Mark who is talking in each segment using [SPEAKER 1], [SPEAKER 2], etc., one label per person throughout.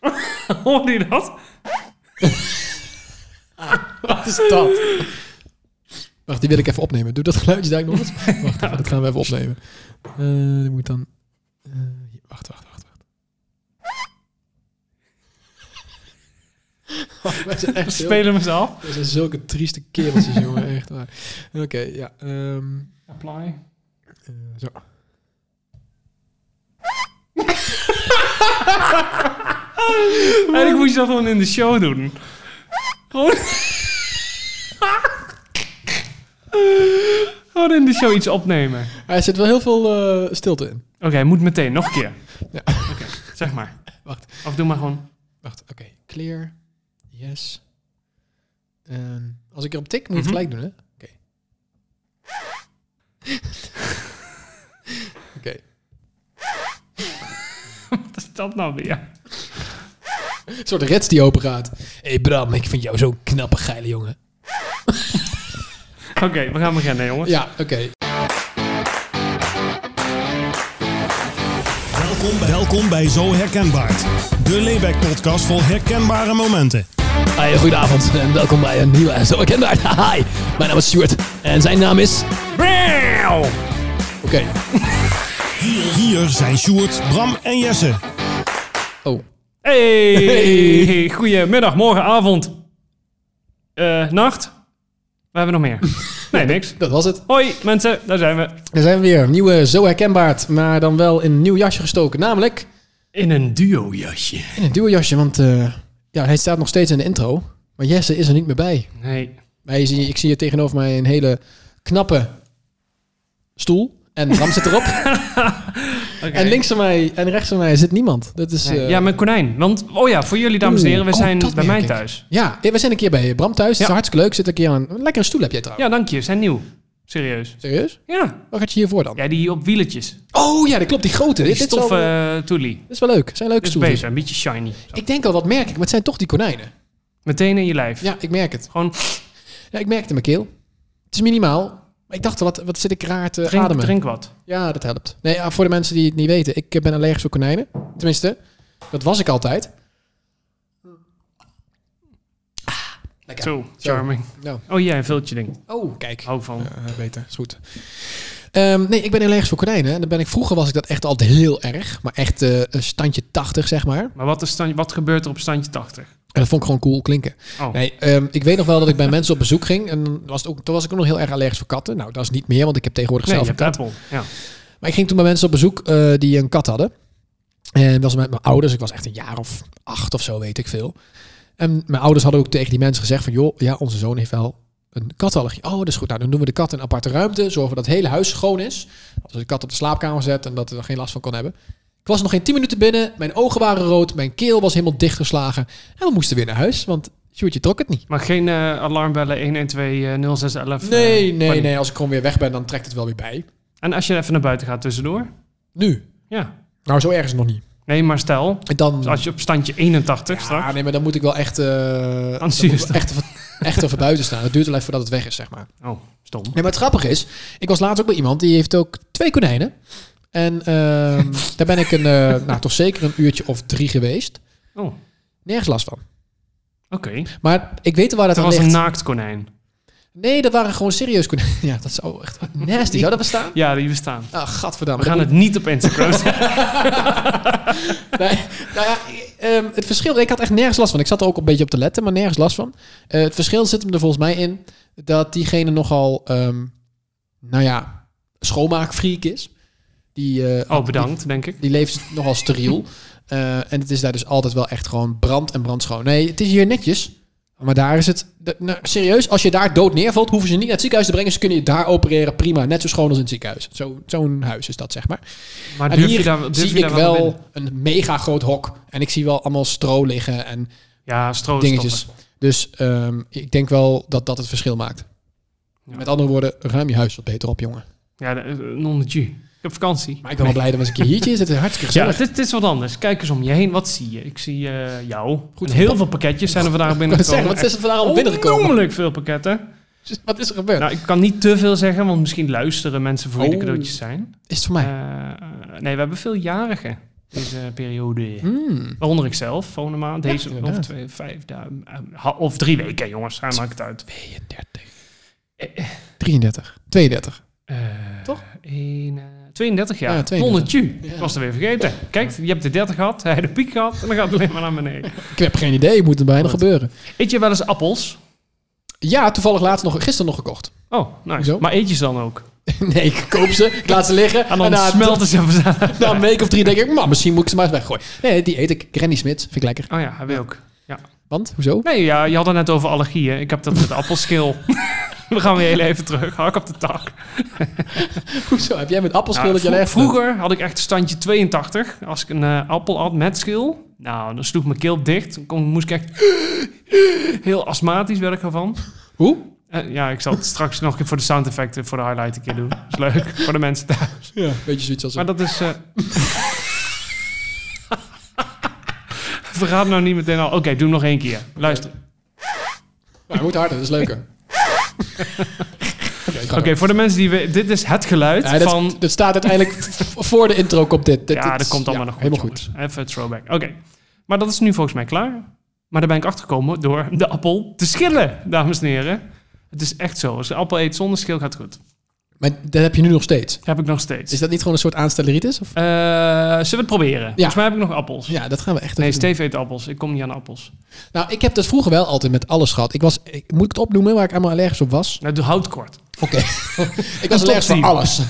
[SPEAKER 1] Hoorde je dat?
[SPEAKER 2] Wat is dat? Wacht, die wil ik even opnemen. Doe dat geluidje daar nog eens. Wacht, even, dat gaan we even opnemen. Eh die moet dan... eh, hier, wacht, wacht, wacht. wacht. Oh, wij zijn echt heel-
[SPEAKER 1] Spelen mezelf.
[SPEAKER 2] wij zijn zulke trieste kereltjes, jongen. Echt waar. Oké, ja. ehm,
[SPEAKER 1] Apply.
[SPEAKER 2] eh, zo.
[SPEAKER 1] Eigenlijk moest je dat gewoon in de show doen. Gewoon. gewoon in de show iets opnemen.
[SPEAKER 2] Er zit wel heel veel eh, stilte in.
[SPEAKER 1] Oké, moet meteen. Nog een keer.
[SPEAKER 2] Ja.
[SPEAKER 1] Oké, zeg maar.
[SPEAKER 2] Wacht.
[SPEAKER 1] Of doe maar gewoon.
[SPEAKER 2] Wacht, oké. Clear. Yes. En als ik erop tik, moet ik
[SPEAKER 1] Mhm.
[SPEAKER 2] het gelijk doen, hè? Oké. oké.
[SPEAKER 1] Wat is dat nou weer?
[SPEAKER 2] Een soort rets die open gaat. Hé hey Bram, ik vind jou zo'n knappe geile jongen.
[SPEAKER 1] Oké, we gaan beginnen, jongens.
[SPEAKER 2] Ja, oké.
[SPEAKER 3] Welkom bij, welkom bij Zo Herkenbaar. De Layback Podcast vol herkenbare momenten.
[SPEAKER 2] Hey, goedenavond en welkom bij een nieuwe Zo Herkenbaar. Hi, mijn naam is Stuart en zijn naam is... Oké.
[SPEAKER 3] Hier, hier zijn Sjoerd, Bram en Jesse.
[SPEAKER 2] Oh.
[SPEAKER 1] Hey!
[SPEAKER 2] Hey.
[SPEAKER 1] Goedemiddag, morgen, avond. Eh, nacht. We hebben nog meer. Nee, niks.
[SPEAKER 2] Dat was het.
[SPEAKER 1] Hoi, mensen. Daar zijn we.
[SPEAKER 2] Daar zijn we weer. Een nieuwe Zo Herkenbaar, maar dan wel in een nieuw jasje gestoken. Namelijk...
[SPEAKER 1] In een duo-jasje.
[SPEAKER 2] In een duojasje, want eh, ja, hij staat nog steeds in de intro. Maar Jesse is er niet meer bij.
[SPEAKER 1] Nee.
[SPEAKER 2] Wij zien, ik zie hier tegenover mij een hele knappe stoel. En Bram zit erop.
[SPEAKER 1] Oké.
[SPEAKER 2] En links van mij en rechts van mij zit niemand. Dat is,
[SPEAKER 1] Nee,
[SPEAKER 2] eh,
[SPEAKER 1] ja, mijn konijn. Want, oh ja, voor jullie dames en
[SPEAKER 2] Oeh,
[SPEAKER 1] heren, we
[SPEAKER 2] oh,
[SPEAKER 1] zijn
[SPEAKER 2] dat
[SPEAKER 1] bij mij
[SPEAKER 2] merk ik.
[SPEAKER 1] thuis.
[SPEAKER 2] ja, eh, we zijn een keer bij Bram thuis. Het is
[SPEAKER 1] Ja.
[SPEAKER 2] hartstikke leuk. Zit een keer aan een lekkere stoel heb jij trouwens.
[SPEAKER 1] Ja, dank je. ze Zijn nieuw. Serieus.
[SPEAKER 2] Serieus?
[SPEAKER 1] Ja.
[SPEAKER 2] Waar gaat je hiervoor dan?
[SPEAKER 1] Ja, die op wieletjes.
[SPEAKER 2] Oh ja, dat klopt. Die grote.
[SPEAKER 1] Die
[SPEAKER 2] Dit, dit, is, wel,
[SPEAKER 1] stoffen eh, toelie.
[SPEAKER 2] dit is wel leuk. Het zijn leuke
[SPEAKER 1] Dus
[SPEAKER 2] stoeltjes.
[SPEAKER 1] beter. Een beetje shiny. Zo.
[SPEAKER 2] Ik denk al, wat merk ik? Maar het zijn toch die konijnen.
[SPEAKER 1] Meteen in je lijf.
[SPEAKER 2] Ja, ik merk het.
[SPEAKER 1] Gewoon
[SPEAKER 2] Ja, ik merkte mijn keel. Het is minimaal. Maar ik dacht, al, wat, wat zit ik raar te
[SPEAKER 1] drink,
[SPEAKER 2] ademen.
[SPEAKER 1] drink wat.
[SPEAKER 2] Ja, dat helpt. Nee, ja, voor de mensen die het niet weten, ik eh, ben allergisch voor konijnen. Tenminste, dat was ik altijd. Ah, Lekker.
[SPEAKER 1] Zo,
[SPEAKER 2] Zo.
[SPEAKER 1] charming.
[SPEAKER 2] Nou,
[SPEAKER 1] Oh ja, een viltje ding.
[SPEAKER 2] oh, kijk.
[SPEAKER 1] Hou van.
[SPEAKER 2] Ja, beter, is goed. Ehm, nee, ik ben allergisch voor konijnen. En dan ben ik, vroeger was ik dat echt altijd heel erg. Maar echt eh, een standje 80, zeg maar.
[SPEAKER 1] Maar wat, is stand, wat gebeurt er op standje 80?
[SPEAKER 2] En dat vond ik gewoon cool klinken.
[SPEAKER 1] Oh.
[SPEAKER 2] Nee, ehm, ik weet nog wel dat ik bij mensen op bezoek ging. En dan was het ook, toen was ik ook nog heel erg allergisch voor katten. Nou, dat is niet meer, want ik heb tegenwoordig
[SPEAKER 1] Nee, je
[SPEAKER 2] zelf
[SPEAKER 1] hebt
[SPEAKER 2] een kat.
[SPEAKER 1] Apple. Ja.
[SPEAKER 2] Maar ik ging toen bij mensen op bezoek eh, die een kat hadden. En was met mijn ouders. Ik was echt een jaar of acht of zo, weet ik veel. En mijn ouders hadden ook tegen die mensen gezegd van... joh, ja, onze zoon heeft wel een katallergie. Oh, dat is goed. Nou, dan doen we de kat in een aparte ruimte. Zorgen we dat het hele huis schoon is. Als we de kat op de slaapkamer zetten en dat we er geen last van kon hebben. Ik was nog geen tien minuten binnen. Mijn ogen waren rood. Mijn keel was helemaal dichtgeslagen. En we moesten weer naar huis, want Sjoerdje trok het niet.
[SPEAKER 1] Maar geen eh, alarmbellen 112 eh, 0611. eh,
[SPEAKER 2] Nee, nee,
[SPEAKER 1] paniek.
[SPEAKER 2] nee. Als ik gewoon weer weg ben, dan trekt het wel weer bij.
[SPEAKER 1] En als je even naar buiten gaat tussendoor?
[SPEAKER 2] Nu.
[SPEAKER 1] Ja.
[SPEAKER 2] Nou, zo erg is het nog niet.
[SPEAKER 1] Nee, maar stel,
[SPEAKER 2] En dan...
[SPEAKER 1] dus als je op standje 81
[SPEAKER 2] Ja,
[SPEAKER 1] straks...
[SPEAKER 2] nee, maar dan moet ik wel echt, eh dan moet
[SPEAKER 1] zie je
[SPEAKER 2] ik
[SPEAKER 1] staan.
[SPEAKER 2] echt, even- echt even buiten staan. Het duurt wel even voordat het weg is, zeg maar.
[SPEAKER 1] Oh, stom.
[SPEAKER 2] Nee, maar het grappige is, ik was laatst ook bij iemand die heeft ook twee konijnen. En ehm, daar ben ik een, eh, nou, toch zeker een uurtje of drie geweest.
[SPEAKER 1] Oh, oké.
[SPEAKER 2] Nergens last van. Maar ik weet waar dat
[SPEAKER 1] Dat
[SPEAKER 2] aan
[SPEAKER 1] was een
[SPEAKER 2] ligt.
[SPEAKER 1] naakt konijn.
[SPEAKER 2] nee, dat waren gewoon serieus konijnen. Ja, dat zou echt nasty. Zou dat bestaan?
[SPEAKER 1] Ja, die bestaan.
[SPEAKER 2] Ah, gadverdamme.
[SPEAKER 1] We gaan
[SPEAKER 2] Dat
[SPEAKER 1] het niet op Instagram zetten.
[SPEAKER 2] Nee, nou ja, ehm, het verschil, ik had echt nergens last van. Ik zat er ook een beetje op te letten, maar nergens last van. Eh, het verschil zit hem er volgens mij in dat diegene nogal, ehm, nou ja, schoonmaakfreak is. Die, eh,
[SPEAKER 1] Oh, bedankt, denk ik.
[SPEAKER 2] Die, die leeft nogal steriel. Eh, en het is daar dus altijd wel echt gewoon brand en brandschoon. Nee, het is hier netjes. Maar daar is het... dat- nou, serieus, als je daar dood neervalt, hoeven ze niet naar het ziekenhuis te brengen. Ze kunnen je daar opereren, prima. Net zo schoon als in het ziekenhuis. Zo- Zo'n huis is dat, zeg maar.
[SPEAKER 1] Maar
[SPEAKER 2] En
[SPEAKER 1] durf
[SPEAKER 2] hier
[SPEAKER 1] je daar, durf
[SPEAKER 2] zie
[SPEAKER 1] je
[SPEAKER 2] ik
[SPEAKER 1] daar wel, naar
[SPEAKER 2] wel
[SPEAKER 1] binnen?
[SPEAKER 2] een mega groot hok. En ik zie wel allemaal stro liggen en
[SPEAKER 1] Ja,
[SPEAKER 2] dingetjes.
[SPEAKER 1] stroostoffen.
[SPEAKER 2] Dus ehm, ik denk wel dat dat het verschil maakt.
[SPEAKER 1] Ja.
[SPEAKER 2] Met andere woorden, ruim je huis wat beter op, jongen.
[SPEAKER 1] Ja, de- eh, een ondertje. Ik heb vakantie.
[SPEAKER 2] Maar ik ben wel blij dat we eens een keer hiertje zitten.
[SPEAKER 1] Ja,
[SPEAKER 2] Hartstikke gezellig.
[SPEAKER 1] het is, het is wat anders. Kijk eens om je heen. Wat zie je? Ik zie eh, jou.
[SPEAKER 2] Goed.
[SPEAKER 1] En heel veel pakketjes zijn er vandaag
[SPEAKER 2] ik kan
[SPEAKER 1] binnengekomen.
[SPEAKER 2] het zeggen, want ze is er vandaag al binnengekomen.
[SPEAKER 1] Onnoemelijk veel pakketten.
[SPEAKER 2] Wat is er gebeurd?
[SPEAKER 1] Oh, Nou, ik kan niet te veel zeggen, want misschien luisteren mensen voor wie de
[SPEAKER 2] Oh.
[SPEAKER 1] cadeautjes zijn.
[SPEAKER 2] is het voor mij?
[SPEAKER 1] Eh, nee, we hebben veel jarigen. Deze periode.
[SPEAKER 2] Mm.
[SPEAKER 1] Waaronder ik zelf, volgende maand.
[SPEAKER 2] Ja,
[SPEAKER 1] Deze of
[SPEAKER 2] inderdaad.
[SPEAKER 1] twee, vijf dagen. eh, ha- Of drie weken, jongens. Hij maakt het uit.
[SPEAKER 2] 32.
[SPEAKER 1] Eh, eh.
[SPEAKER 2] 33. 32.
[SPEAKER 1] Eh,
[SPEAKER 2] Toch?
[SPEAKER 1] één, eh, 32 jaar.
[SPEAKER 2] Ja, 32.
[SPEAKER 1] Nonnetje.
[SPEAKER 2] Ja.
[SPEAKER 1] Ik was er weer vergeten. Kijk, je hebt de 30 gehad, hij de piek gehad en dan gaat het alleen maar naar beneden.
[SPEAKER 2] Ik heb geen idee, moet het bijna
[SPEAKER 1] Goed.
[SPEAKER 2] gebeuren.
[SPEAKER 1] Eet je wel eens appels?
[SPEAKER 2] Ja, toevallig laatst nog, gisteren nog gekocht.
[SPEAKER 1] Oh, nice.
[SPEAKER 2] Hoezo?
[SPEAKER 1] Maar eet je ze dan ook?
[SPEAKER 2] nee, ik koop ze, ik laat ze liggen.
[SPEAKER 1] En dan
[SPEAKER 2] na,
[SPEAKER 1] smelten ze vanzelf.
[SPEAKER 2] na een week of drie denk ik, man, misschien moet ik ze maar eens weggooien. Nee, die eet ik. Granny Smits, vind ik lekker.
[SPEAKER 1] Oh ja, heb je ook.
[SPEAKER 2] Want, hoezo?
[SPEAKER 1] Nee, ja, je had het net over allergieën. Ik heb dat met appelschil. We gaan weer heel even terug. Hak op de tak.
[SPEAKER 2] Hoezo? Heb jij met appelschil
[SPEAKER 1] Nou,
[SPEAKER 2] dat je
[SPEAKER 1] vro-
[SPEAKER 2] legt?
[SPEAKER 1] vroeger had ik echt een standje 82. Als ik een eh, appel had met schil, nou, dan sloeg mijn keel dicht. Dan kon, moest ik echt... Heel astmatisch werd ik ervan.
[SPEAKER 2] Hoe?
[SPEAKER 1] Eh, ja, ik zal het straks nog een keer voor de sound effecten, voor de highlight een keer doen. Dat is leuk voor de mensen thuis.
[SPEAKER 2] Ja. Beetje zoiets als...
[SPEAKER 1] Maar dat is... eh Verraad nou niet meteen al. Oké, doe hem nog één keer. Luister.
[SPEAKER 2] Maar het moet harder, dat is leuker.
[SPEAKER 1] Oké, voor de mensen die... We, dit is het geluid
[SPEAKER 2] Ja, dat,
[SPEAKER 1] van...
[SPEAKER 2] dat staat uiteindelijk v- voor de intro komt dit. dit
[SPEAKER 1] ja,
[SPEAKER 2] dit-
[SPEAKER 1] dat komt allemaal
[SPEAKER 2] ja,
[SPEAKER 1] nog goed,
[SPEAKER 2] Helemaal goed.
[SPEAKER 1] jongens. Even het throwback. Oké. Maar dat is nu volgens mij klaar. Maar daar ben ik achtergekomen door de appel te schillen, dames en heren. Het is echt zo. Als je appel eet zonder schil, gaat het goed.
[SPEAKER 2] Maar dat heb je nu nog steeds.
[SPEAKER 1] Dat heb ik nog steeds.
[SPEAKER 2] Is dat niet gewoon een soort aanstelleritis? Of?
[SPEAKER 1] Eh, zullen we het proberen? Volgens mij heb ik nog appels.
[SPEAKER 2] Ja, dat gaan we echt
[SPEAKER 1] Nee,
[SPEAKER 2] even doen.
[SPEAKER 1] Steve eet appels. Ik kom niet aan appels.
[SPEAKER 2] Nou, ik heb dat vroeger wel altijd met alles gehad. Ik was, ik, moet ik het opnoemen waar ik allemaal allergisch op was?
[SPEAKER 1] Nou, doe hout kort.
[SPEAKER 2] Oké. ik was allergisch voor
[SPEAKER 1] topteam.
[SPEAKER 2] alles.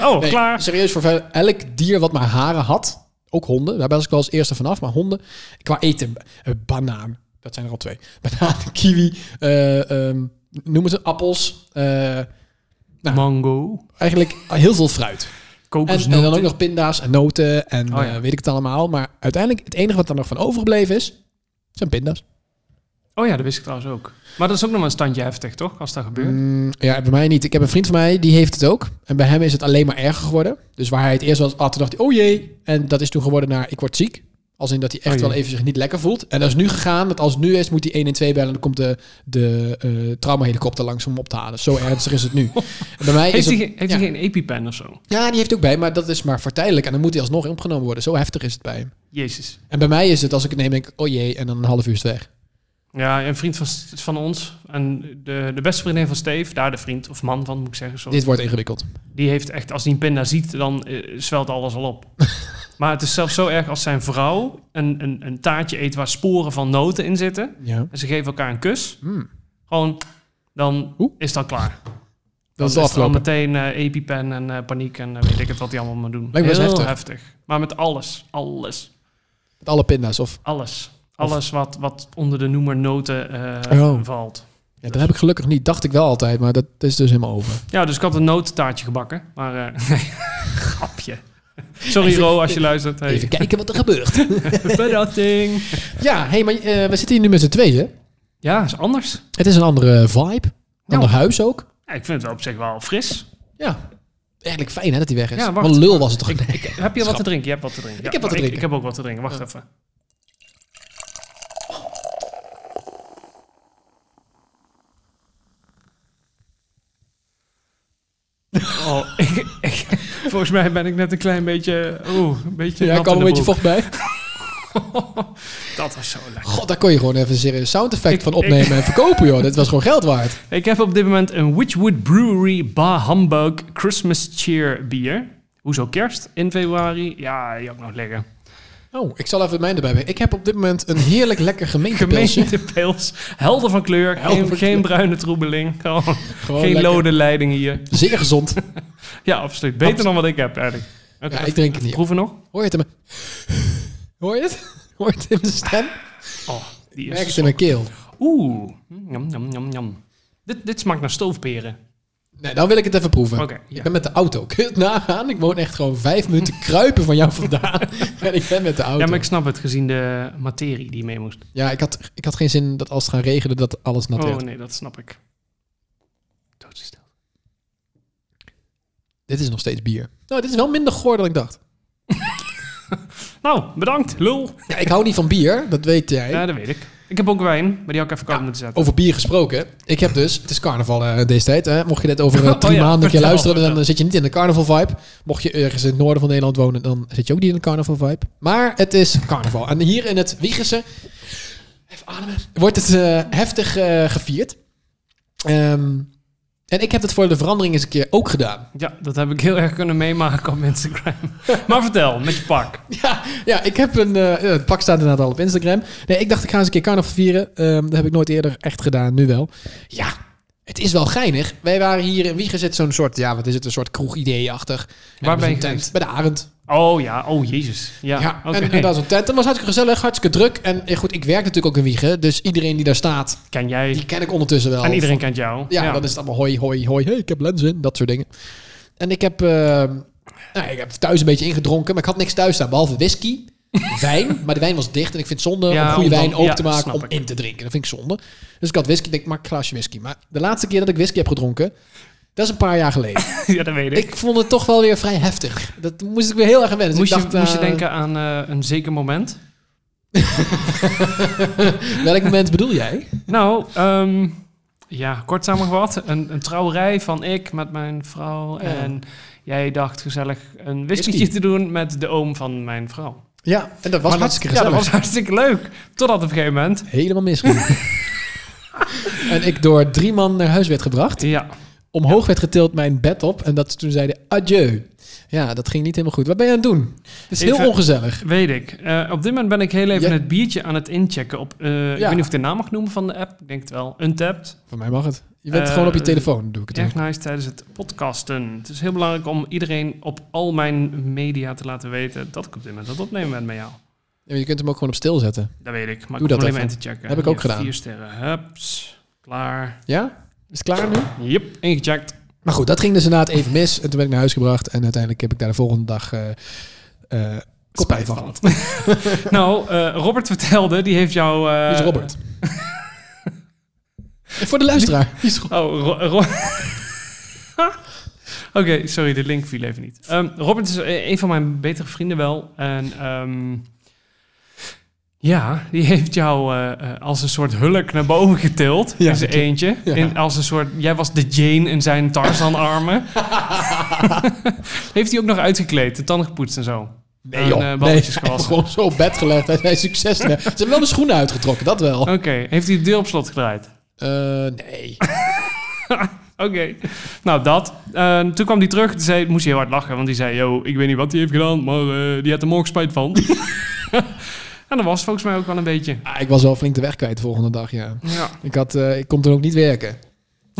[SPEAKER 1] Oh,
[SPEAKER 2] Nee, Dus-
[SPEAKER 1] klaar.
[SPEAKER 2] Serieus, voor verder- elk dier wat maar haren had, ook honden, daar was ik wel als eerste vanaf, maar honden, qua eten, eh, banaan, dat zijn er al twee. Banaan, kiwi, eh ehm noem ze appels, eh, Nou.
[SPEAKER 1] Mango.
[SPEAKER 2] eigenlijk heel veel fruit. En, en
[SPEAKER 1] Kokosnoten.
[SPEAKER 2] dan ook nog pinda's en noten en
[SPEAKER 1] Oh ja.
[SPEAKER 2] eh, weet ik het allemaal. Maar uiteindelijk, het enige wat er nog van overgebleven is, zijn pinda's.
[SPEAKER 1] Oh ja, dat wist ik trouwens ook. Maar dat is ook nog wel een standje heftig, toch? Als dat gebeurt.
[SPEAKER 2] Mm, ja, bij mij niet. Ik heb een vriend van mij, die heeft het ook. En bij hem is het alleen maar erger geworden. Dus waar hij het eerst was, altijd dacht hij, oh jee. En dat is toen geworden naar, ik word ziek. Als in dat hij echt
[SPEAKER 1] Oh jee.
[SPEAKER 2] wel even zich niet lekker voelt. En dat is nu gegaan, dat als het nu is, moet hij 1 en 2 bellen. En dan komt de, de eh traumahelikopter langs om hem op te halen. Zo ernstig is het nu. En bij mij
[SPEAKER 1] Heeft
[SPEAKER 2] is
[SPEAKER 1] hij
[SPEAKER 2] het-
[SPEAKER 1] geen- heeft
[SPEAKER 2] ja.
[SPEAKER 1] hij geen EpiPen of zo?
[SPEAKER 2] Ja, die heeft ook bij, maar dat is maar voor tijdelijk. En dan moet hij alsnog opgenomen worden. Zo heftig is het bij hem.
[SPEAKER 1] Jezus.
[SPEAKER 2] En bij mij is het, als ik het neem, denk ik, oh jee. En dan een half uur is het weg.
[SPEAKER 1] Ja, een vriend van, van ons. En de, de beste vriendin van Steve. Daar de vriend of man van, moet ik zeggen. Sorry.
[SPEAKER 2] Dit wordt ingewikkeld.
[SPEAKER 1] Die heeft echt, als hij een pinda ziet, dan eh, zwelt alles al op. maar het is zelfs zo erg als zijn vrouw een, een, een taartje eet waar sporen van noten in zitten.
[SPEAKER 2] Ja.
[SPEAKER 1] En ze geven elkaar een kus.
[SPEAKER 2] Hmm.
[SPEAKER 1] Gewoon, dan
[SPEAKER 2] Oeh.
[SPEAKER 1] is dat klaar. Dan
[SPEAKER 2] Dat is al
[SPEAKER 1] dan
[SPEAKER 2] afgelopen.
[SPEAKER 1] meteen eh, EpiPen en eh, paniek en eh, weet ik het wat die allemaal maar doen.
[SPEAKER 2] Lijkt me best
[SPEAKER 1] Heel
[SPEAKER 2] heftig.
[SPEAKER 1] Maar met alles, alles,
[SPEAKER 2] Met alle pinda's. Of,
[SPEAKER 1] alles. Alles wat, wat onder de noemer noten eh,
[SPEAKER 2] Oh.
[SPEAKER 1] valt.
[SPEAKER 2] ja, dat heb ik gelukkig niet. Dacht ik wel altijd, maar dat is dus helemaal over.
[SPEAKER 1] Ja, dus ik had een notentaartje gebakken. Maar eh, nee, grapje. Sorry Ro, als je luistert. Hey.
[SPEAKER 2] Even kijken wat er gebeurt.
[SPEAKER 1] Bedatting.
[SPEAKER 2] ja, hey, maar eh, we zitten hier nu met z'n tweeën.
[SPEAKER 1] Ja, is anders.
[SPEAKER 2] Het is een andere vibe. Een
[SPEAKER 1] Ja.
[SPEAKER 2] ander huis ook.
[SPEAKER 1] Ja, ik vind het wel op zich wel fris.
[SPEAKER 2] Ja. Eigenlijk fijn hè, dat hij weg is.
[SPEAKER 1] Ja, wacht.
[SPEAKER 2] wat een lul was het toch?
[SPEAKER 1] Ik, ik- heb je wat te
[SPEAKER 2] Schat.
[SPEAKER 1] drinken? Je hebt wat te drinken.
[SPEAKER 2] Ik heb wat te
[SPEAKER 1] maar Ik,
[SPEAKER 2] drinken.
[SPEAKER 1] heb ook wat te drinken. Wacht even. Oh, ik, ik- volgens mij ben ik net een klein beetje... Oeh, een beetje
[SPEAKER 2] ja,
[SPEAKER 1] nat
[SPEAKER 2] ik kwam
[SPEAKER 1] in
[SPEAKER 2] een
[SPEAKER 1] de
[SPEAKER 2] beetje
[SPEAKER 1] broek.
[SPEAKER 2] vocht bij.
[SPEAKER 1] Dat was zo lekker.
[SPEAKER 2] God, daar kon je gewoon even een serieus sound effect
[SPEAKER 1] Ik-
[SPEAKER 2] van
[SPEAKER 1] ik-
[SPEAKER 2] opnemen en verkopen, joh. Dit was gewoon geld waard.
[SPEAKER 1] Ik heb op dit moment een Witchwood Brewery Bar Hamburg Christmas Cheer bier. Hoezo kerst in februari? Ja, die heb ik nog liggen.
[SPEAKER 2] Oh, ik zal even mijn erbij brengen. Ik heb op dit moment een heerlijk lekker gemeentepilsje.
[SPEAKER 1] Gemeente pils. Helder van kleur.
[SPEAKER 2] Helder
[SPEAKER 1] geen,
[SPEAKER 2] van
[SPEAKER 1] geen
[SPEAKER 2] kleur.
[SPEAKER 1] bruine troebeling. Gewoon
[SPEAKER 2] Gewoon
[SPEAKER 1] geen
[SPEAKER 2] lekker.
[SPEAKER 1] lode leiding hier.
[SPEAKER 2] Zeer gezond.
[SPEAKER 1] Ja, absoluut. Beter dan wat ik heb eigenlijk. Oké,
[SPEAKER 2] Ja,
[SPEAKER 1] even
[SPEAKER 2] ik drink het niet.
[SPEAKER 1] proeven nog.
[SPEAKER 2] Hoor je het in mijn... Hoor je het? Hoor je het in mijn stem?
[SPEAKER 1] Oh, die
[SPEAKER 2] Ik merk het
[SPEAKER 1] is...
[SPEAKER 2] in mijn keel.
[SPEAKER 1] Oeh. Mm, Jam, jam, jam, jam. Dit, dit smaakt naar stoofperen.
[SPEAKER 2] Nee, dan wil ik het even proeven.
[SPEAKER 1] Oké,
[SPEAKER 2] Ik
[SPEAKER 1] ja.
[SPEAKER 2] ben met de auto. Kun je het nagaan? Ik woon echt gewoon vijf minuten kruipen van jou vandaan. en ik ben met de auto.
[SPEAKER 1] ja, maar ik snap het gezien de materie die mee moest.
[SPEAKER 2] had, ik had geen zin dat als het gaat regenen, dat alles nat
[SPEAKER 1] Oh
[SPEAKER 2] werd.
[SPEAKER 1] nee, dat snap ik. Doodstil.
[SPEAKER 2] Dit is nog steeds bier. Nou, dit is wel minder goor dan ik dacht.
[SPEAKER 1] Nou, bedankt, lul.
[SPEAKER 2] Ja, ik hou niet van bier, dat weet jij.
[SPEAKER 1] Ja, dat weet ik. Ik heb ook wijn, maar die had ik even koud moeten zetten.
[SPEAKER 2] Over bier gesproken. Ik heb dus, het is carnaval eh, deze tijd. Hè? Mocht je dit over eh,
[SPEAKER 1] Oh
[SPEAKER 2] drie
[SPEAKER 1] ja,
[SPEAKER 2] maanden een keer
[SPEAKER 1] vertel,
[SPEAKER 2] luisteren, dan
[SPEAKER 1] vertel.
[SPEAKER 2] eh, zit je niet in de carnaval vibe. Mocht je ergens in het noorden van Nederland wonen, dan zit je ook niet in de carnaval vibe. Maar het is carnaval. En hier in het Wiegerse even ademen, wordt het eh, heftig eh, gevierd. Ehm, en ik heb het voor de verandering eens een keer ook gedaan.
[SPEAKER 1] Ja, dat heb ik heel erg kunnen meemaken op Instagram. maar vertel, met je pak.
[SPEAKER 2] Ja, ja ik heb een... eh, ja, het pak staat inderdaad al op Instagram. Nee, ik dacht ik ga eens een keer carnaval vieren. Ehm, dat heb ik nooit eerder echt gedaan, nu wel. Ja, het is wel geinig. Wij waren hier in Wiegen zit zo'n soort... Ja, wat is het? Een soort kroeg-idee-achtig. En
[SPEAKER 1] Waar
[SPEAKER 2] er was
[SPEAKER 1] ben je
[SPEAKER 2] een tent?
[SPEAKER 1] geweest?
[SPEAKER 2] Bij de Arend.
[SPEAKER 1] Oh ja, oh jezus. Ja,
[SPEAKER 2] Ja,
[SPEAKER 1] oké.
[SPEAKER 2] en, en daar zo'n tent. Dat was hartstikke gezellig, hartstikke druk. En eh, goed, ik werk natuurlijk ook in Wiegen. Dus iedereen die daar staat,
[SPEAKER 1] Ken jij.
[SPEAKER 2] die ken ik ondertussen wel.
[SPEAKER 1] en iedereen kent jou.
[SPEAKER 2] Ja, dan is het allemaal hoi, hoi, hoi. Hey, ik heb lens in. Dat soort dingen. En ik heb, ehm, nou, ik heb thuis een beetje ingedronken. Maar ik had niks thuis staan, behalve whisky, wijn. Maar de wijn was dicht. En ik vind het zonde
[SPEAKER 1] Ja,
[SPEAKER 2] om goede
[SPEAKER 1] om dan-
[SPEAKER 2] wijn open
[SPEAKER 1] ja,
[SPEAKER 2] te maken
[SPEAKER 1] snap
[SPEAKER 2] om
[SPEAKER 1] ik.
[SPEAKER 2] in te drinken. Dat vind ik zonde. Dus ik had whisky. Ik denk, maak een glaasje whisky. Maar de laatste keer dat ik whisky heb gedronken, dat is een paar jaar geleden.
[SPEAKER 1] ja, dat weet ik.
[SPEAKER 2] ik vond het toch wel weer vrij heftig. Dat moest ik weer heel erg aan wennen. Dus
[SPEAKER 1] moest,
[SPEAKER 2] ik
[SPEAKER 1] je,
[SPEAKER 2] dacht,
[SPEAKER 1] moest je
[SPEAKER 2] eh,
[SPEAKER 1] denken aan eh, een zeker moment?
[SPEAKER 2] Welk moment bedoel jij?
[SPEAKER 1] Nou, ehm, ja, kort samengevat. Een, een trouwerij van ik met mijn vrouw.
[SPEAKER 2] Ja.
[SPEAKER 1] En jij dacht gezellig een
[SPEAKER 2] Whisky.
[SPEAKER 1] whisketje te doen met de oom van mijn vrouw.
[SPEAKER 2] Ja, en dat was
[SPEAKER 1] Maar
[SPEAKER 2] hartstikke
[SPEAKER 1] dat, ja,
[SPEAKER 2] gezellig.
[SPEAKER 1] dat was hartstikke leuk. Totdat op een gegeven moment...
[SPEAKER 2] Helemaal misgegaan. en ik door drie man naar huis werd gebracht.
[SPEAKER 1] Ja,
[SPEAKER 2] omhoog werd getild mijn bed op. En dat ze toen zeiden adieu. Ja, dat ging niet helemaal goed. Wat ben je aan het doen? Het is heel
[SPEAKER 1] Even-
[SPEAKER 2] ongezellig.
[SPEAKER 1] weet ik. Eh, op dit moment ben ik heel even
[SPEAKER 2] Ja.
[SPEAKER 1] het biertje aan het inchecken op... eh, Ik
[SPEAKER 2] Ja.
[SPEAKER 1] weet niet of ik de naam mag noemen van de app. Ik denk het wel. Untapped.
[SPEAKER 2] Voor mij mag het. Je bent
[SPEAKER 1] Eh,
[SPEAKER 2] gewoon op je telefoon, doe ik het.
[SPEAKER 1] Erg nice tijdens het podcasten. Het is heel belangrijk om iedereen op al mijn media te laten weten... dat ik op dit moment aan het opnemen ben met jou.
[SPEAKER 2] Ja, maar je kunt hem ook gewoon op stil zetten.
[SPEAKER 1] Dat weet ik, maar ik
[SPEAKER 2] Doe
[SPEAKER 1] hoef
[SPEAKER 2] dat
[SPEAKER 1] alleen maar
[SPEAKER 2] even.
[SPEAKER 1] in te checken.
[SPEAKER 2] Heb ik ook
[SPEAKER 1] Hier,
[SPEAKER 2] gedaan.
[SPEAKER 1] Vier sterren, hups, klaar.
[SPEAKER 2] Ja? Is het klaar nu?
[SPEAKER 1] Yep, ingecheckt.
[SPEAKER 2] Maar goed, dat ging dus inderdaad even mis. En toen ben ik naar huis gebracht. En uiteindelijk heb ik daar de volgende dag eh eh, spijt van.
[SPEAKER 1] Spijt nou, eh, Robert vertelde, die heeft jou... eh,
[SPEAKER 2] Wie is Robert? En Voor de luisteraar. Wie is Ro-
[SPEAKER 1] Oh, Ro- Ro- Oké, sorry, de link viel even niet. Ehm, Robert is eh, een van mijn betere vrienden wel. En ehm, ja, die heeft jou eh, eh, als een soort hulk naar boven getild.
[SPEAKER 2] Ja,
[SPEAKER 1] in zijn
[SPEAKER 2] dat-
[SPEAKER 1] eentje.
[SPEAKER 2] ja.
[SPEAKER 1] In, als een soort, jij was de Jane in zijn Tarzan-armen. heeft hij ook nog uitgekleed, de tanden gepoetst en zo.
[SPEAKER 2] Nee joh.
[SPEAKER 1] En, eh,
[SPEAKER 2] nee,
[SPEAKER 1] balletjes
[SPEAKER 2] hij heeft
[SPEAKER 1] gewassen.
[SPEAKER 2] gewoon zo op bed gelegd. Hij zei succes. Ze hebben wel mijn schoenen uitgetrokken, dat wel.
[SPEAKER 1] Oké, heeft hij de deur op slot gedraaid?
[SPEAKER 2] Eh, nee.
[SPEAKER 1] Oké. Nou, dat. Eh, toen kwam hij terug. Toen zei, moest hij heel hard lachen. Want die zei, yo, ik weet niet wat hij heeft gedaan, maar eh, die had er morgen spijt van. en dat was volgens mij ook wel een beetje.
[SPEAKER 2] Ah, ik was wel flink de weg kwijt de volgende dag, ja.
[SPEAKER 1] Ja.
[SPEAKER 2] Ik, had, eh, ik kon toen ook niet werken.